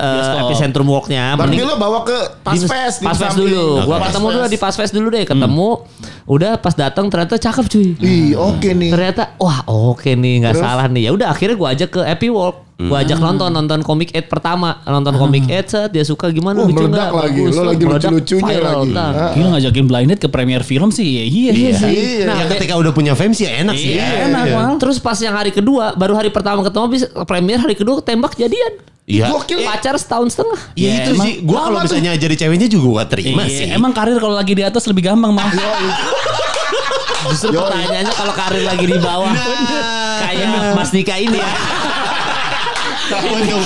[SPEAKER 4] eh,
[SPEAKER 2] Bioskop.
[SPEAKER 4] Epicentrum Walknya.
[SPEAKER 3] Berarti
[SPEAKER 4] Mending-
[SPEAKER 3] lo bawa ke pas fest.
[SPEAKER 4] pas fest dulu. Gua ketemu dulu di pas fest dulu deh, ketemu.
[SPEAKER 2] Hmm.
[SPEAKER 4] Udah pas datang ternyata cakep cuy.
[SPEAKER 3] Ih, oke nih.
[SPEAKER 4] Ternyata wah oke nih nggak
[SPEAKER 3] Terus? Hmm.
[SPEAKER 4] salah nih. Ya udah akhirnya gua ajak ke Happy Walk. Gua ajak nonton nonton komik Ed pertama, nonton komik Ed set dia suka gimana
[SPEAKER 3] Wah,
[SPEAKER 4] lucu
[SPEAKER 3] Hmm. Oh, meledak
[SPEAKER 4] nggak?
[SPEAKER 3] lagi.
[SPEAKER 4] Bagus,
[SPEAKER 3] Lo lagi
[SPEAKER 4] meledak,
[SPEAKER 3] lucu-lucunya
[SPEAKER 4] viral,
[SPEAKER 3] lagi.
[SPEAKER 4] tang.
[SPEAKER 3] Ah.
[SPEAKER 2] Gila ngajakin blind date ke premier film sih. Iya, iya,
[SPEAKER 3] sih.
[SPEAKER 1] Iya.
[SPEAKER 4] Nah,
[SPEAKER 1] Ya,
[SPEAKER 4] kayak-
[SPEAKER 1] ketika udah punya fame sih enak sih.
[SPEAKER 2] Iya, enak
[SPEAKER 1] Iya.
[SPEAKER 2] banget.
[SPEAKER 4] Terus pas yang hari kedua, baru hari pertama ketemu habis premier hari kedua tembak jadian. Eh,
[SPEAKER 1] Iya.
[SPEAKER 3] Gokil.
[SPEAKER 4] Pacar setahun setengah.
[SPEAKER 1] Ya, itu
[SPEAKER 2] Iya,
[SPEAKER 1] sih. Gue kalau misalnya jadi ceweknya juga gue terima
[SPEAKER 2] Iya,
[SPEAKER 1] sih.
[SPEAKER 2] Emang karir kalau lagi di atas lebih gampang mah.
[SPEAKER 3] Iya,
[SPEAKER 4] Justru
[SPEAKER 3] Yoi.
[SPEAKER 4] pertanyaannya kalau karir lagi di bawah. Kayak Mas Dika ini ya.
[SPEAKER 1] Untung,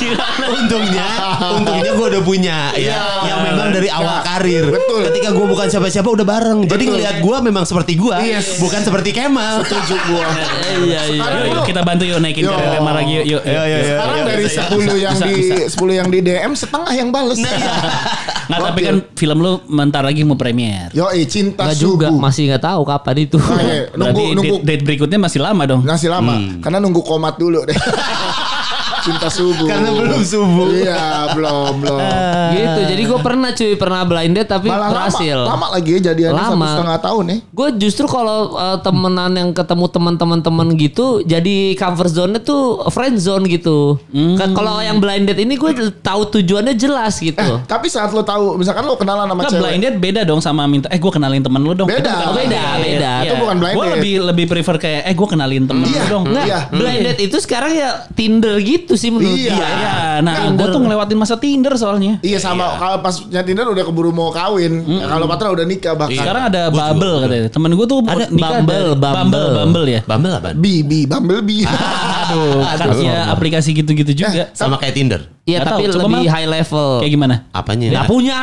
[SPEAKER 1] untungnya, untungnya gue udah punya ya. Yang memang dari awal
[SPEAKER 3] Nah,
[SPEAKER 1] karir.
[SPEAKER 3] betul.
[SPEAKER 1] Ketika gue bukan siapa-siapa udah bareng. Jadi ngelihat gue memang seperti gue,
[SPEAKER 3] Yes.
[SPEAKER 1] bukan seperti Kemal. Setuju gue.
[SPEAKER 4] Iya iya.
[SPEAKER 2] Yuk, yuk,
[SPEAKER 3] Lu-
[SPEAKER 2] kita bantu yuk naikin
[SPEAKER 3] Yo.
[SPEAKER 2] karir Emma lagi yuk. yuk.
[SPEAKER 1] Iya, iya, iya.
[SPEAKER 3] Sekarang dari
[SPEAKER 2] bisa,
[SPEAKER 3] 10
[SPEAKER 2] bisa,
[SPEAKER 3] yang
[SPEAKER 2] bisa,
[SPEAKER 3] di
[SPEAKER 2] bisa.
[SPEAKER 3] 10 yang di DM setengah yang bales.
[SPEAKER 2] Nggak tapi kan film lu bentar lagi mau premier.
[SPEAKER 3] Yo, cinta
[SPEAKER 4] Enggak
[SPEAKER 3] subuh.
[SPEAKER 4] juga masih nggak tahu kapan itu.
[SPEAKER 3] Ah, iya. Nunggu
[SPEAKER 2] Berarti
[SPEAKER 3] nunggu
[SPEAKER 2] date, date berikutnya masih lama dong.
[SPEAKER 3] Ngasih lama karena nunggu komat dulu deh. Cinta subuh.
[SPEAKER 1] Karena belum subuh.
[SPEAKER 3] Iya, belum, belum.
[SPEAKER 4] gitu. Jadi gue pernah cuy pernah blind date tapi
[SPEAKER 3] Malah
[SPEAKER 4] berhasil.
[SPEAKER 3] lama, lama lagi ya jadiannya satu
[SPEAKER 4] Lama.
[SPEAKER 3] setengah tahun ya.
[SPEAKER 4] Gue justru kalau uh, temenan yang ketemu teman-teman teman gitu, jadi comfort zone-nya tuh friend zone gitu. Kan Kalau yang blind date ini gue tahu tujuannya jelas gitu.
[SPEAKER 3] Eh, tapi saat lo tahu, misalkan lo kenalan
[SPEAKER 2] Nah,
[SPEAKER 3] sama cewek.
[SPEAKER 2] blind date beda dong sama minta eh gue kenalin temen lu dong.
[SPEAKER 3] Beda.
[SPEAKER 2] Itu bukan
[SPEAKER 3] Oh,
[SPEAKER 4] beda,
[SPEAKER 2] blind date.
[SPEAKER 4] beda.
[SPEAKER 2] Iya.
[SPEAKER 3] Itu bukan blind
[SPEAKER 2] Gua
[SPEAKER 3] date.
[SPEAKER 2] lebih lebih prefer kayak eh gue kenalin temen lu
[SPEAKER 3] Iya,
[SPEAKER 2] dong.
[SPEAKER 4] Enggak,
[SPEAKER 3] iya.
[SPEAKER 4] blind date itu sekarang ya Tinder gitu. itu sih menurut
[SPEAKER 3] Iya.
[SPEAKER 4] dia.
[SPEAKER 2] Iya, nah gue tuh ngelewatin masa Tinder soalnya.
[SPEAKER 3] Iya sama kalau pas Tinder udah keburu mau kawin. Ya, kalau Patra udah nikah bahkan.
[SPEAKER 2] Sekarang ada
[SPEAKER 1] Iya. Gua juga
[SPEAKER 2] Bubble
[SPEAKER 1] udah.
[SPEAKER 2] katanya. Temen gue tuh
[SPEAKER 4] Ada
[SPEAKER 2] nikah
[SPEAKER 4] Bumble,
[SPEAKER 2] dari-
[SPEAKER 4] Bumble.
[SPEAKER 2] Bumble, Bumble ya.
[SPEAKER 1] Bumble apa?
[SPEAKER 3] Bi bi bumblebee.
[SPEAKER 2] Aduh,
[SPEAKER 1] Oh,
[SPEAKER 2] kan ya aplikasi gitu-gitu
[SPEAKER 4] Eh,
[SPEAKER 2] juga.
[SPEAKER 1] Sama kayak Tinder.
[SPEAKER 2] Nggak
[SPEAKER 4] Iya tapi
[SPEAKER 2] tahu, coba
[SPEAKER 4] lebih
[SPEAKER 2] mah.
[SPEAKER 4] high level.
[SPEAKER 2] Kayak gitu. gimana? Oh,
[SPEAKER 1] Apanya?
[SPEAKER 4] oh. Nggak punya.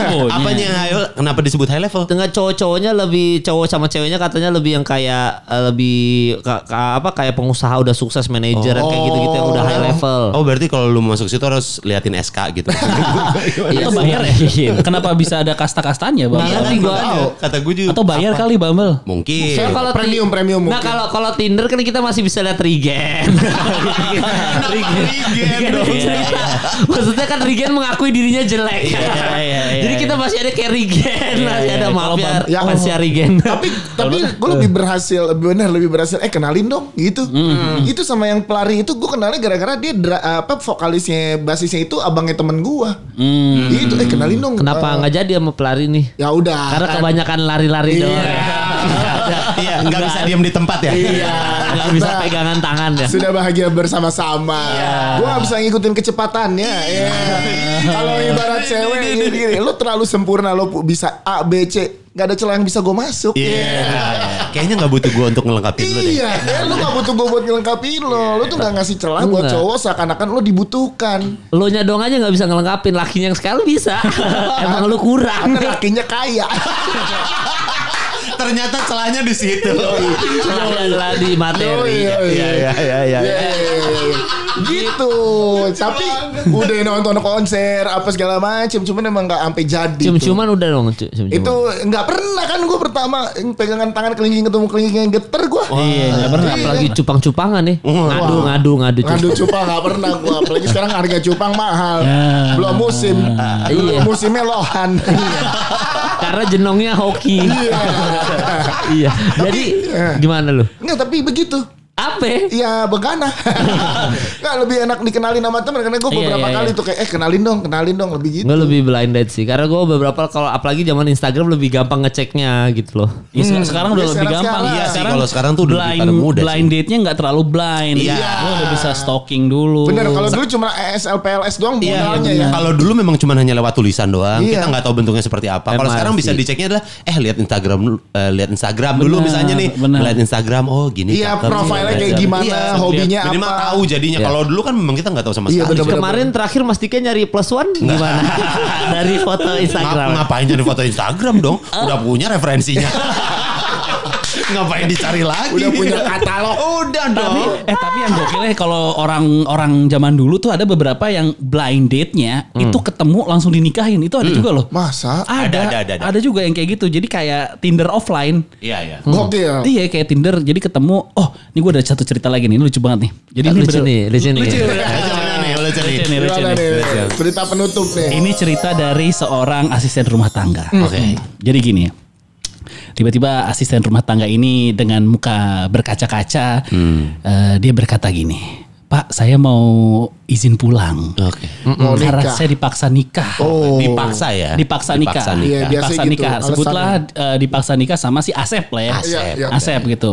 [SPEAKER 1] Apanya? Ayo, kenapa disebut high level?
[SPEAKER 4] Tengah cowok-cowoknya lebih cowok sama ceweknya katanya lebih yang kayak eh, lebih ka- ka- apa kayak pengusaha udah sukses manajer yang kayak gitu-gitu yang udah high level.
[SPEAKER 1] Oh berarti kalau lu masuk situ harus liatin SK gitu.
[SPEAKER 2] Atau
[SPEAKER 4] Iya, sih.
[SPEAKER 2] bayar
[SPEAKER 1] iya,
[SPEAKER 2] ya? Kenapa bisa ada kasta-kastanya
[SPEAKER 4] Nggak
[SPEAKER 2] Bumble?
[SPEAKER 4] ngerti gua.
[SPEAKER 1] kan Kata gue juga.
[SPEAKER 2] Atau bayar kali Bumble?
[SPEAKER 1] Mungkin.
[SPEAKER 4] Soalnya kalau ti-
[SPEAKER 3] Premium, premium
[SPEAKER 4] Nah
[SPEAKER 3] mungkin.
[SPEAKER 4] kalau kalau Tinder kan kita masih bisa lihat Regen.
[SPEAKER 1] Iya,
[SPEAKER 4] Regen.
[SPEAKER 2] Iya,
[SPEAKER 4] Regen. iya. Maksudnya kan Regen mengakui dirinya jelek. Jadi kita masih ada kayak Regen, masih ada maaf ya,
[SPEAKER 3] Ya.
[SPEAKER 4] masih ada Regen.
[SPEAKER 3] tapi tapi gue lebih berhasil lebih benar lebih berhasil eh kenalin dong gitu itu sama yang pelari itu gue kenalnya gara-gara dia dra- apa vokalisnya basisnya itu abangnya temen gue itu eh kenalin dong
[SPEAKER 4] Kenapa
[SPEAKER 3] Eh,
[SPEAKER 4] nggak jadi sama pelari nih?
[SPEAKER 3] ya udah
[SPEAKER 4] Karena
[SPEAKER 3] kan.
[SPEAKER 4] kebanyakan lari-lari
[SPEAKER 3] Iya.
[SPEAKER 4] doang. ya.
[SPEAKER 1] Iya, nggak bisa diam di tempat ya.
[SPEAKER 3] Iya.
[SPEAKER 4] Nggak bisa
[SPEAKER 3] Kita
[SPEAKER 4] pegangan tangan ya. Iya.
[SPEAKER 3] sudah bahagia bersama-sama gue gak bisa ngikutin kecepatannya Iya. kalau
[SPEAKER 4] Iya.
[SPEAKER 3] ibarat cewek gini, gini lu terlalu sempurna lu pu- bisa A B C nggak ada celah yang bisa gue masuk
[SPEAKER 1] Iya. Kayaknya nggak butuh gue untuk ngelengkapin lu deh.
[SPEAKER 3] Iya, eh, lu gak butuh gue buat ngelengkapin lo. Lu tuh gak ngasih celah buat
[SPEAKER 4] Enggak.
[SPEAKER 3] cowok seakan-akan lu dibutuhkan.
[SPEAKER 4] Lo nya doang aja nggak bisa ngelengkapin lakinya yang sekali bisa. Emang lu kurang.
[SPEAKER 3] Karena lakinya kaya.
[SPEAKER 1] Ternyata celahnya di situ.
[SPEAKER 4] Iya. Celah di
[SPEAKER 3] Oh,
[SPEAKER 4] materi.
[SPEAKER 1] Iya, iya, iya, iya.
[SPEAKER 3] Yeay. gitu tapi udah nonton konser apa segala macem cuman emang nggak sampai jadi tuh.
[SPEAKER 4] Cium-ciuman udah dong. cium-ciuman.
[SPEAKER 3] itu nggak pernah kan gue pertama pegangan tangan kelingking ketemu kelingking yang geter gue
[SPEAKER 4] Iya, nggak pernah. Apalagi cupang-cupangan nih. Ngadu,
[SPEAKER 3] Wah.
[SPEAKER 4] ngadu, ngadu.
[SPEAKER 3] ngadu cupang nggak pernah gue apalagi sekarang harga cupang mahal
[SPEAKER 2] Ya.
[SPEAKER 3] belum musim
[SPEAKER 4] Iya.
[SPEAKER 3] Belum musimnya lohan
[SPEAKER 4] Karena jenongnya hoki. iya. Jadi
[SPEAKER 3] eh.
[SPEAKER 4] gimana lu?
[SPEAKER 3] nggak tapi begitu
[SPEAKER 4] Apa?
[SPEAKER 3] Iya begana Nggak lebih enak dikenalin sama temen Karena gue
[SPEAKER 4] Iya,
[SPEAKER 3] beberapa
[SPEAKER 4] iya,
[SPEAKER 3] kali
[SPEAKER 4] iya.
[SPEAKER 3] tuh kayak Eh kenalin dong kenalin dong Lebih gitu
[SPEAKER 4] Gue lebih blind date sih Karena gue beberapa kalau Apalagi zaman Instagram Lebih gampang ngeceknya gitu loh
[SPEAKER 2] Ya, se- sekarang udah
[SPEAKER 3] Ya,
[SPEAKER 4] Hmm,
[SPEAKER 2] lebih
[SPEAKER 3] sekarang-
[SPEAKER 2] gampang.
[SPEAKER 3] sekarang. Iya
[SPEAKER 1] sih, kalau sekarang tuh udah lebih
[SPEAKER 2] blind,
[SPEAKER 1] pada muda sih.
[SPEAKER 2] blind date-nya nggak terlalu blind. Iya. Lo udah bisa stalking dulu.
[SPEAKER 3] Bener kalau dulu cuma ESL PLS doang
[SPEAKER 1] Iya,
[SPEAKER 3] modalnya ya.
[SPEAKER 1] kalau dulu memang cuma hanya lewat tulisan doang.
[SPEAKER 3] Iya.
[SPEAKER 1] Kita nggak tahu bentuknya seperti apa. Kalau
[SPEAKER 4] MRC.
[SPEAKER 1] sekarang bisa diceknya adalah eh lihat Instagram dulu, eh, lihat Instagram dulu
[SPEAKER 2] Benar,
[SPEAKER 1] misalnya nih,
[SPEAKER 2] benar.
[SPEAKER 1] lihat Instagram oh gini.
[SPEAKER 3] Iya
[SPEAKER 1] cakep.
[SPEAKER 3] profilnya kayak
[SPEAKER 1] Iya,
[SPEAKER 3] gimana,
[SPEAKER 1] iya,
[SPEAKER 3] hobinya
[SPEAKER 1] lihat. Minimal
[SPEAKER 3] apa.
[SPEAKER 1] tahu jadinya.
[SPEAKER 4] Iya.
[SPEAKER 1] Kalau dulu kan memang kita nggak tahu sama
[SPEAKER 3] Iya,
[SPEAKER 1] sekali.
[SPEAKER 3] bener-bener.
[SPEAKER 4] Kemarin terakhir Mas Dika nyari plus one Gimana? Dari foto
[SPEAKER 1] Ngap-
[SPEAKER 4] Instagram
[SPEAKER 1] ngapain jadi foto Instagram dong? Udah punya referensinya. ngapain dicari lagi?
[SPEAKER 3] Udah punya katalog.
[SPEAKER 1] Udah dong.
[SPEAKER 2] Eh tapi yang gokilnya kalau orang-orang zaman dulu tuh ada beberapa yang blind date-nya itu ketemu langsung dinikahin. Itu ada juga loh.
[SPEAKER 3] Masa?
[SPEAKER 2] Hmm. Ada, ada, ada, ada. juga yang kayak gitu. Jadi kayak Tinder offline.
[SPEAKER 1] Iya iya.
[SPEAKER 3] Gokil.
[SPEAKER 2] Iya kayak Tinder jadi ketemu oh ini gue ada satu cerita lagi nih ini lucu banget nih jadi ini
[SPEAKER 4] Lucu
[SPEAKER 2] bener-
[SPEAKER 4] nih, lucu nih.
[SPEAKER 2] lucu,
[SPEAKER 1] Lucu nih, lucu nih.
[SPEAKER 2] Lucu nih, lucu
[SPEAKER 3] Gimana
[SPEAKER 2] nih.
[SPEAKER 3] nih? Cerita penutup nih.
[SPEAKER 2] Ini cerita dari seorang asisten rumah tangga.
[SPEAKER 3] Hmm.
[SPEAKER 2] Oke. Jadi gini ya. Tiba-tiba asisten rumah tangga ini dengan muka berkaca-kaca, eh, dia berkata gini, Pak, saya mau izin pulang.
[SPEAKER 1] Oke.
[SPEAKER 3] Hmm, Mau
[SPEAKER 2] Karena
[SPEAKER 3] nikah.
[SPEAKER 2] saya dipaksa nikah.
[SPEAKER 3] Oh.
[SPEAKER 1] Dipaksa ya.
[SPEAKER 2] Dipaksa nikah. Dipaksa
[SPEAKER 3] Iya,
[SPEAKER 2] nikah.
[SPEAKER 3] biasanya gitu, alasannya.
[SPEAKER 2] Sebutlah eh, dipaksa nikah sama si Asep lah ya.
[SPEAKER 3] Iya, iya.
[SPEAKER 2] Asep gitu.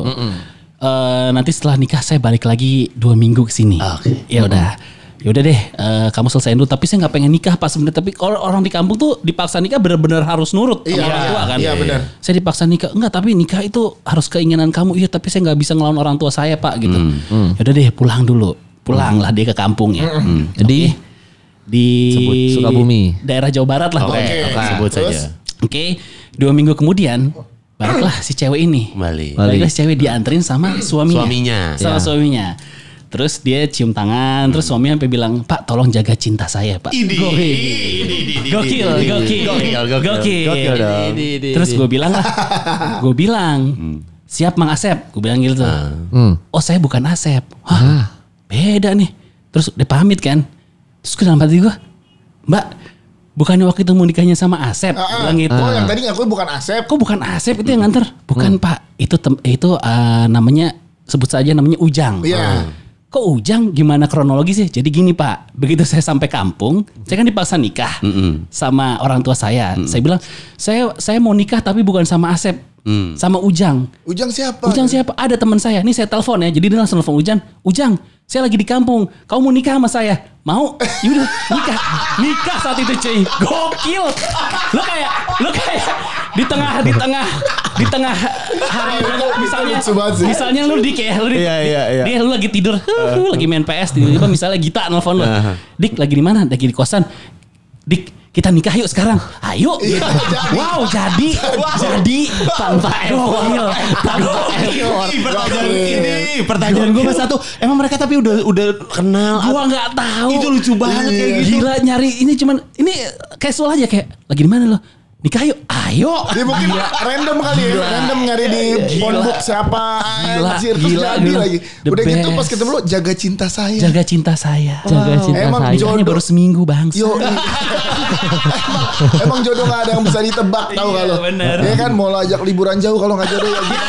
[SPEAKER 2] Eh, nanti setelah nikah saya balik lagi dua minggu ke sini.
[SPEAKER 1] Oke.
[SPEAKER 2] Ya udah. Ya udah deh, eh, kamu selesaiin dulu. Tapi saya nggak pengen nikah pas sebenarnya. Tapi kalau orang di kampung tuh dipaksa nikah bener-bener harus nurut sama
[SPEAKER 3] Iya,
[SPEAKER 2] orang tua kan.
[SPEAKER 3] iya, benar.
[SPEAKER 2] Saya dipaksa nikah. Enggak, tapi nikah itu harus keinginan kamu. Iya, tapi saya nggak bisa ngelawan orang tua saya pak gitu. Ya udah deh, pulang dulu. Pulang lah dia ke kampung ya. Jadi di
[SPEAKER 4] Sebut Sukabumi.
[SPEAKER 2] daerah Jawa Barat lah.
[SPEAKER 1] Oke,
[SPEAKER 2] pokoknya.
[SPEAKER 1] oke, sebut
[SPEAKER 3] Terus?
[SPEAKER 1] saja.
[SPEAKER 2] Oke, dua minggu kemudian baliklah si cewek ini.
[SPEAKER 1] Kembali.
[SPEAKER 2] Baliklah si Iya. cewek dianterin sama suaminya.
[SPEAKER 1] Suaminya.
[SPEAKER 2] Sama suaminya. Terus dia cium tangan, terus suaminya sampai bilang, "Pak, tolong jaga cinta saya, Pak."
[SPEAKER 1] Idi.
[SPEAKER 2] Gokil.
[SPEAKER 1] Idi, idi, idi,
[SPEAKER 2] Gokil,
[SPEAKER 1] idi,
[SPEAKER 2] gokil.
[SPEAKER 1] idi. Gokil, gokil.
[SPEAKER 2] Gokil.
[SPEAKER 3] Iya,
[SPEAKER 1] Gokil dong.
[SPEAKER 4] Di, di, di,
[SPEAKER 2] Terus
[SPEAKER 4] di.
[SPEAKER 2] gue bilang lah, gue bilang, siap Mang Asep, gue bilang gitu.
[SPEAKER 4] Hmm.
[SPEAKER 2] Oh saya bukan Asep, Hah, beda nih. Terus dia pamit kan, terus gue dalam hati gue, Mbak, bukannya waktu itu mau nikahnya sama Asep,
[SPEAKER 3] Ah,
[SPEAKER 2] Gue
[SPEAKER 3] ah.
[SPEAKER 2] bilang gitu.
[SPEAKER 3] Oh yang tadi ngakuin bukan Asep. Hmm.
[SPEAKER 2] Kok bukan Asep itu yang nganter? Bukan Pak, itu tem- itu eh, namanya sebut saja namanya Ujang. Nah,
[SPEAKER 3] Iya.
[SPEAKER 2] Kok Ujang gimana kronologi sih? Jadi gini Pak, begitu saya sampai kampung, saya kan dipaksa nikah sama orang tua saya. Saya bilang, saya saya mau nikah tapi bukan sama Asep,
[SPEAKER 3] Mm.
[SPEAKER 2] sama Ujang.
[SPEAKER 3] Ujang siapa?
[SPEAKER 2] Ujang siapa? Ada teman saya. Nih saya telepon ya. Jadi dia langsung telepon Ujang. Ujang, Saya lagi di kampung. Kamu mau nikah sama saya? Mau? Yaudah, nikah. Nikah saat itu cuy. Gokil. Lo kayak, lo kayak di tengah, di tengah, di tengah hari misalnya,
[SPEAKER 3] Iya, lucu banget sih.
[SPEAKER 2] misalnya lu dik ya, lu dik,
[SPEAKER 1] Iya, iya, iya.
[SPEAKER 2] dia lu lagi tidur,
[SPEAKER 3] Uh.
[SPEAKER 2] lu lagi main PS tiba-tiba misalnya Gita nelfon lu.
[SPEAKER 1] Uh-huh.
[SPEAKER 2] Dik lagi di mana? Lagi di kosan. Dik kita nikah yuk sekarang. Ayo.
[SPEAKER 3] Iya, jadi.
[SPEAKER 2] Wow, jadi. Jadi tanpa effort. Tanpa effort.
[SPEAKER 1] Ih, pertanyaan
[SPEAKER 3] Gokil.
[SPEAKER 1] ini, pertanyaan gue satu. Emang mereka tapi udah udah kenal.
[SPEAKER 2] Gua nggak tahu.
[SPEAKER 1] Itu lucu banget kayak
[SPEAKER 3] Iya.
[SPEAKER 1] gitu.
[SPEAKER 2] Gila nyari ini cuman ini casual aja kayak lagi di mana lo? Nikah yuk. Ayo.
[SPEAKER 3] Dia Ya, mungkin random kali ya, random nyari di pondok siapa,
[SPEAKER 2] Gila,
[SPEAKER 3] anjir, terus
[SPEAKER 2] gila,
[SPEAKER 3] jadi
[SPEAKER 2] gila.
[SPEAKER 3] lagi.
[SPEAKER 2] The
[SPEAKER 3] Udah gitu
[SPEAKER 2] best.
[SPEAKER 3] pas ketemu lu jaga cinta saya.
[SPEAKER 2] Jaga cinta saya.
[SPEAKER 4] Jaga cinta
[SPEAKER 3] Emang
[SPEAKER 4] saya.
[SPEAKER 3] Jo-
[SPEAKER 2] Nikahnya baru seminggu bang.
[SPEAKER 3] Yo, i- emang, emang jodoh gak ada yang bisa ditebak tahu
[SPEAKER 2] Iya,
[SPEAKER 3] kalau.
[SPEAKER 2] bener.
[SPEAKER 3] Dia kan mau lo ajak liburan jauh kalau nggak jodoh ya gitu.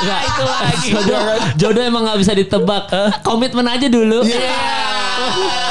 [SPEAKER 4] Enggak, Ah, itu lagi.
[SPEAKER 3] Jodoh
[SPEAKER 4] Jodoh,
[SPEAKER 3] kan?
[SPEAKER 4] jodoh emang nggak bisa ditebak. Komitmen aja dulu.
[SPEAKER 3] Iya.
[SPEAKER 4] Iya.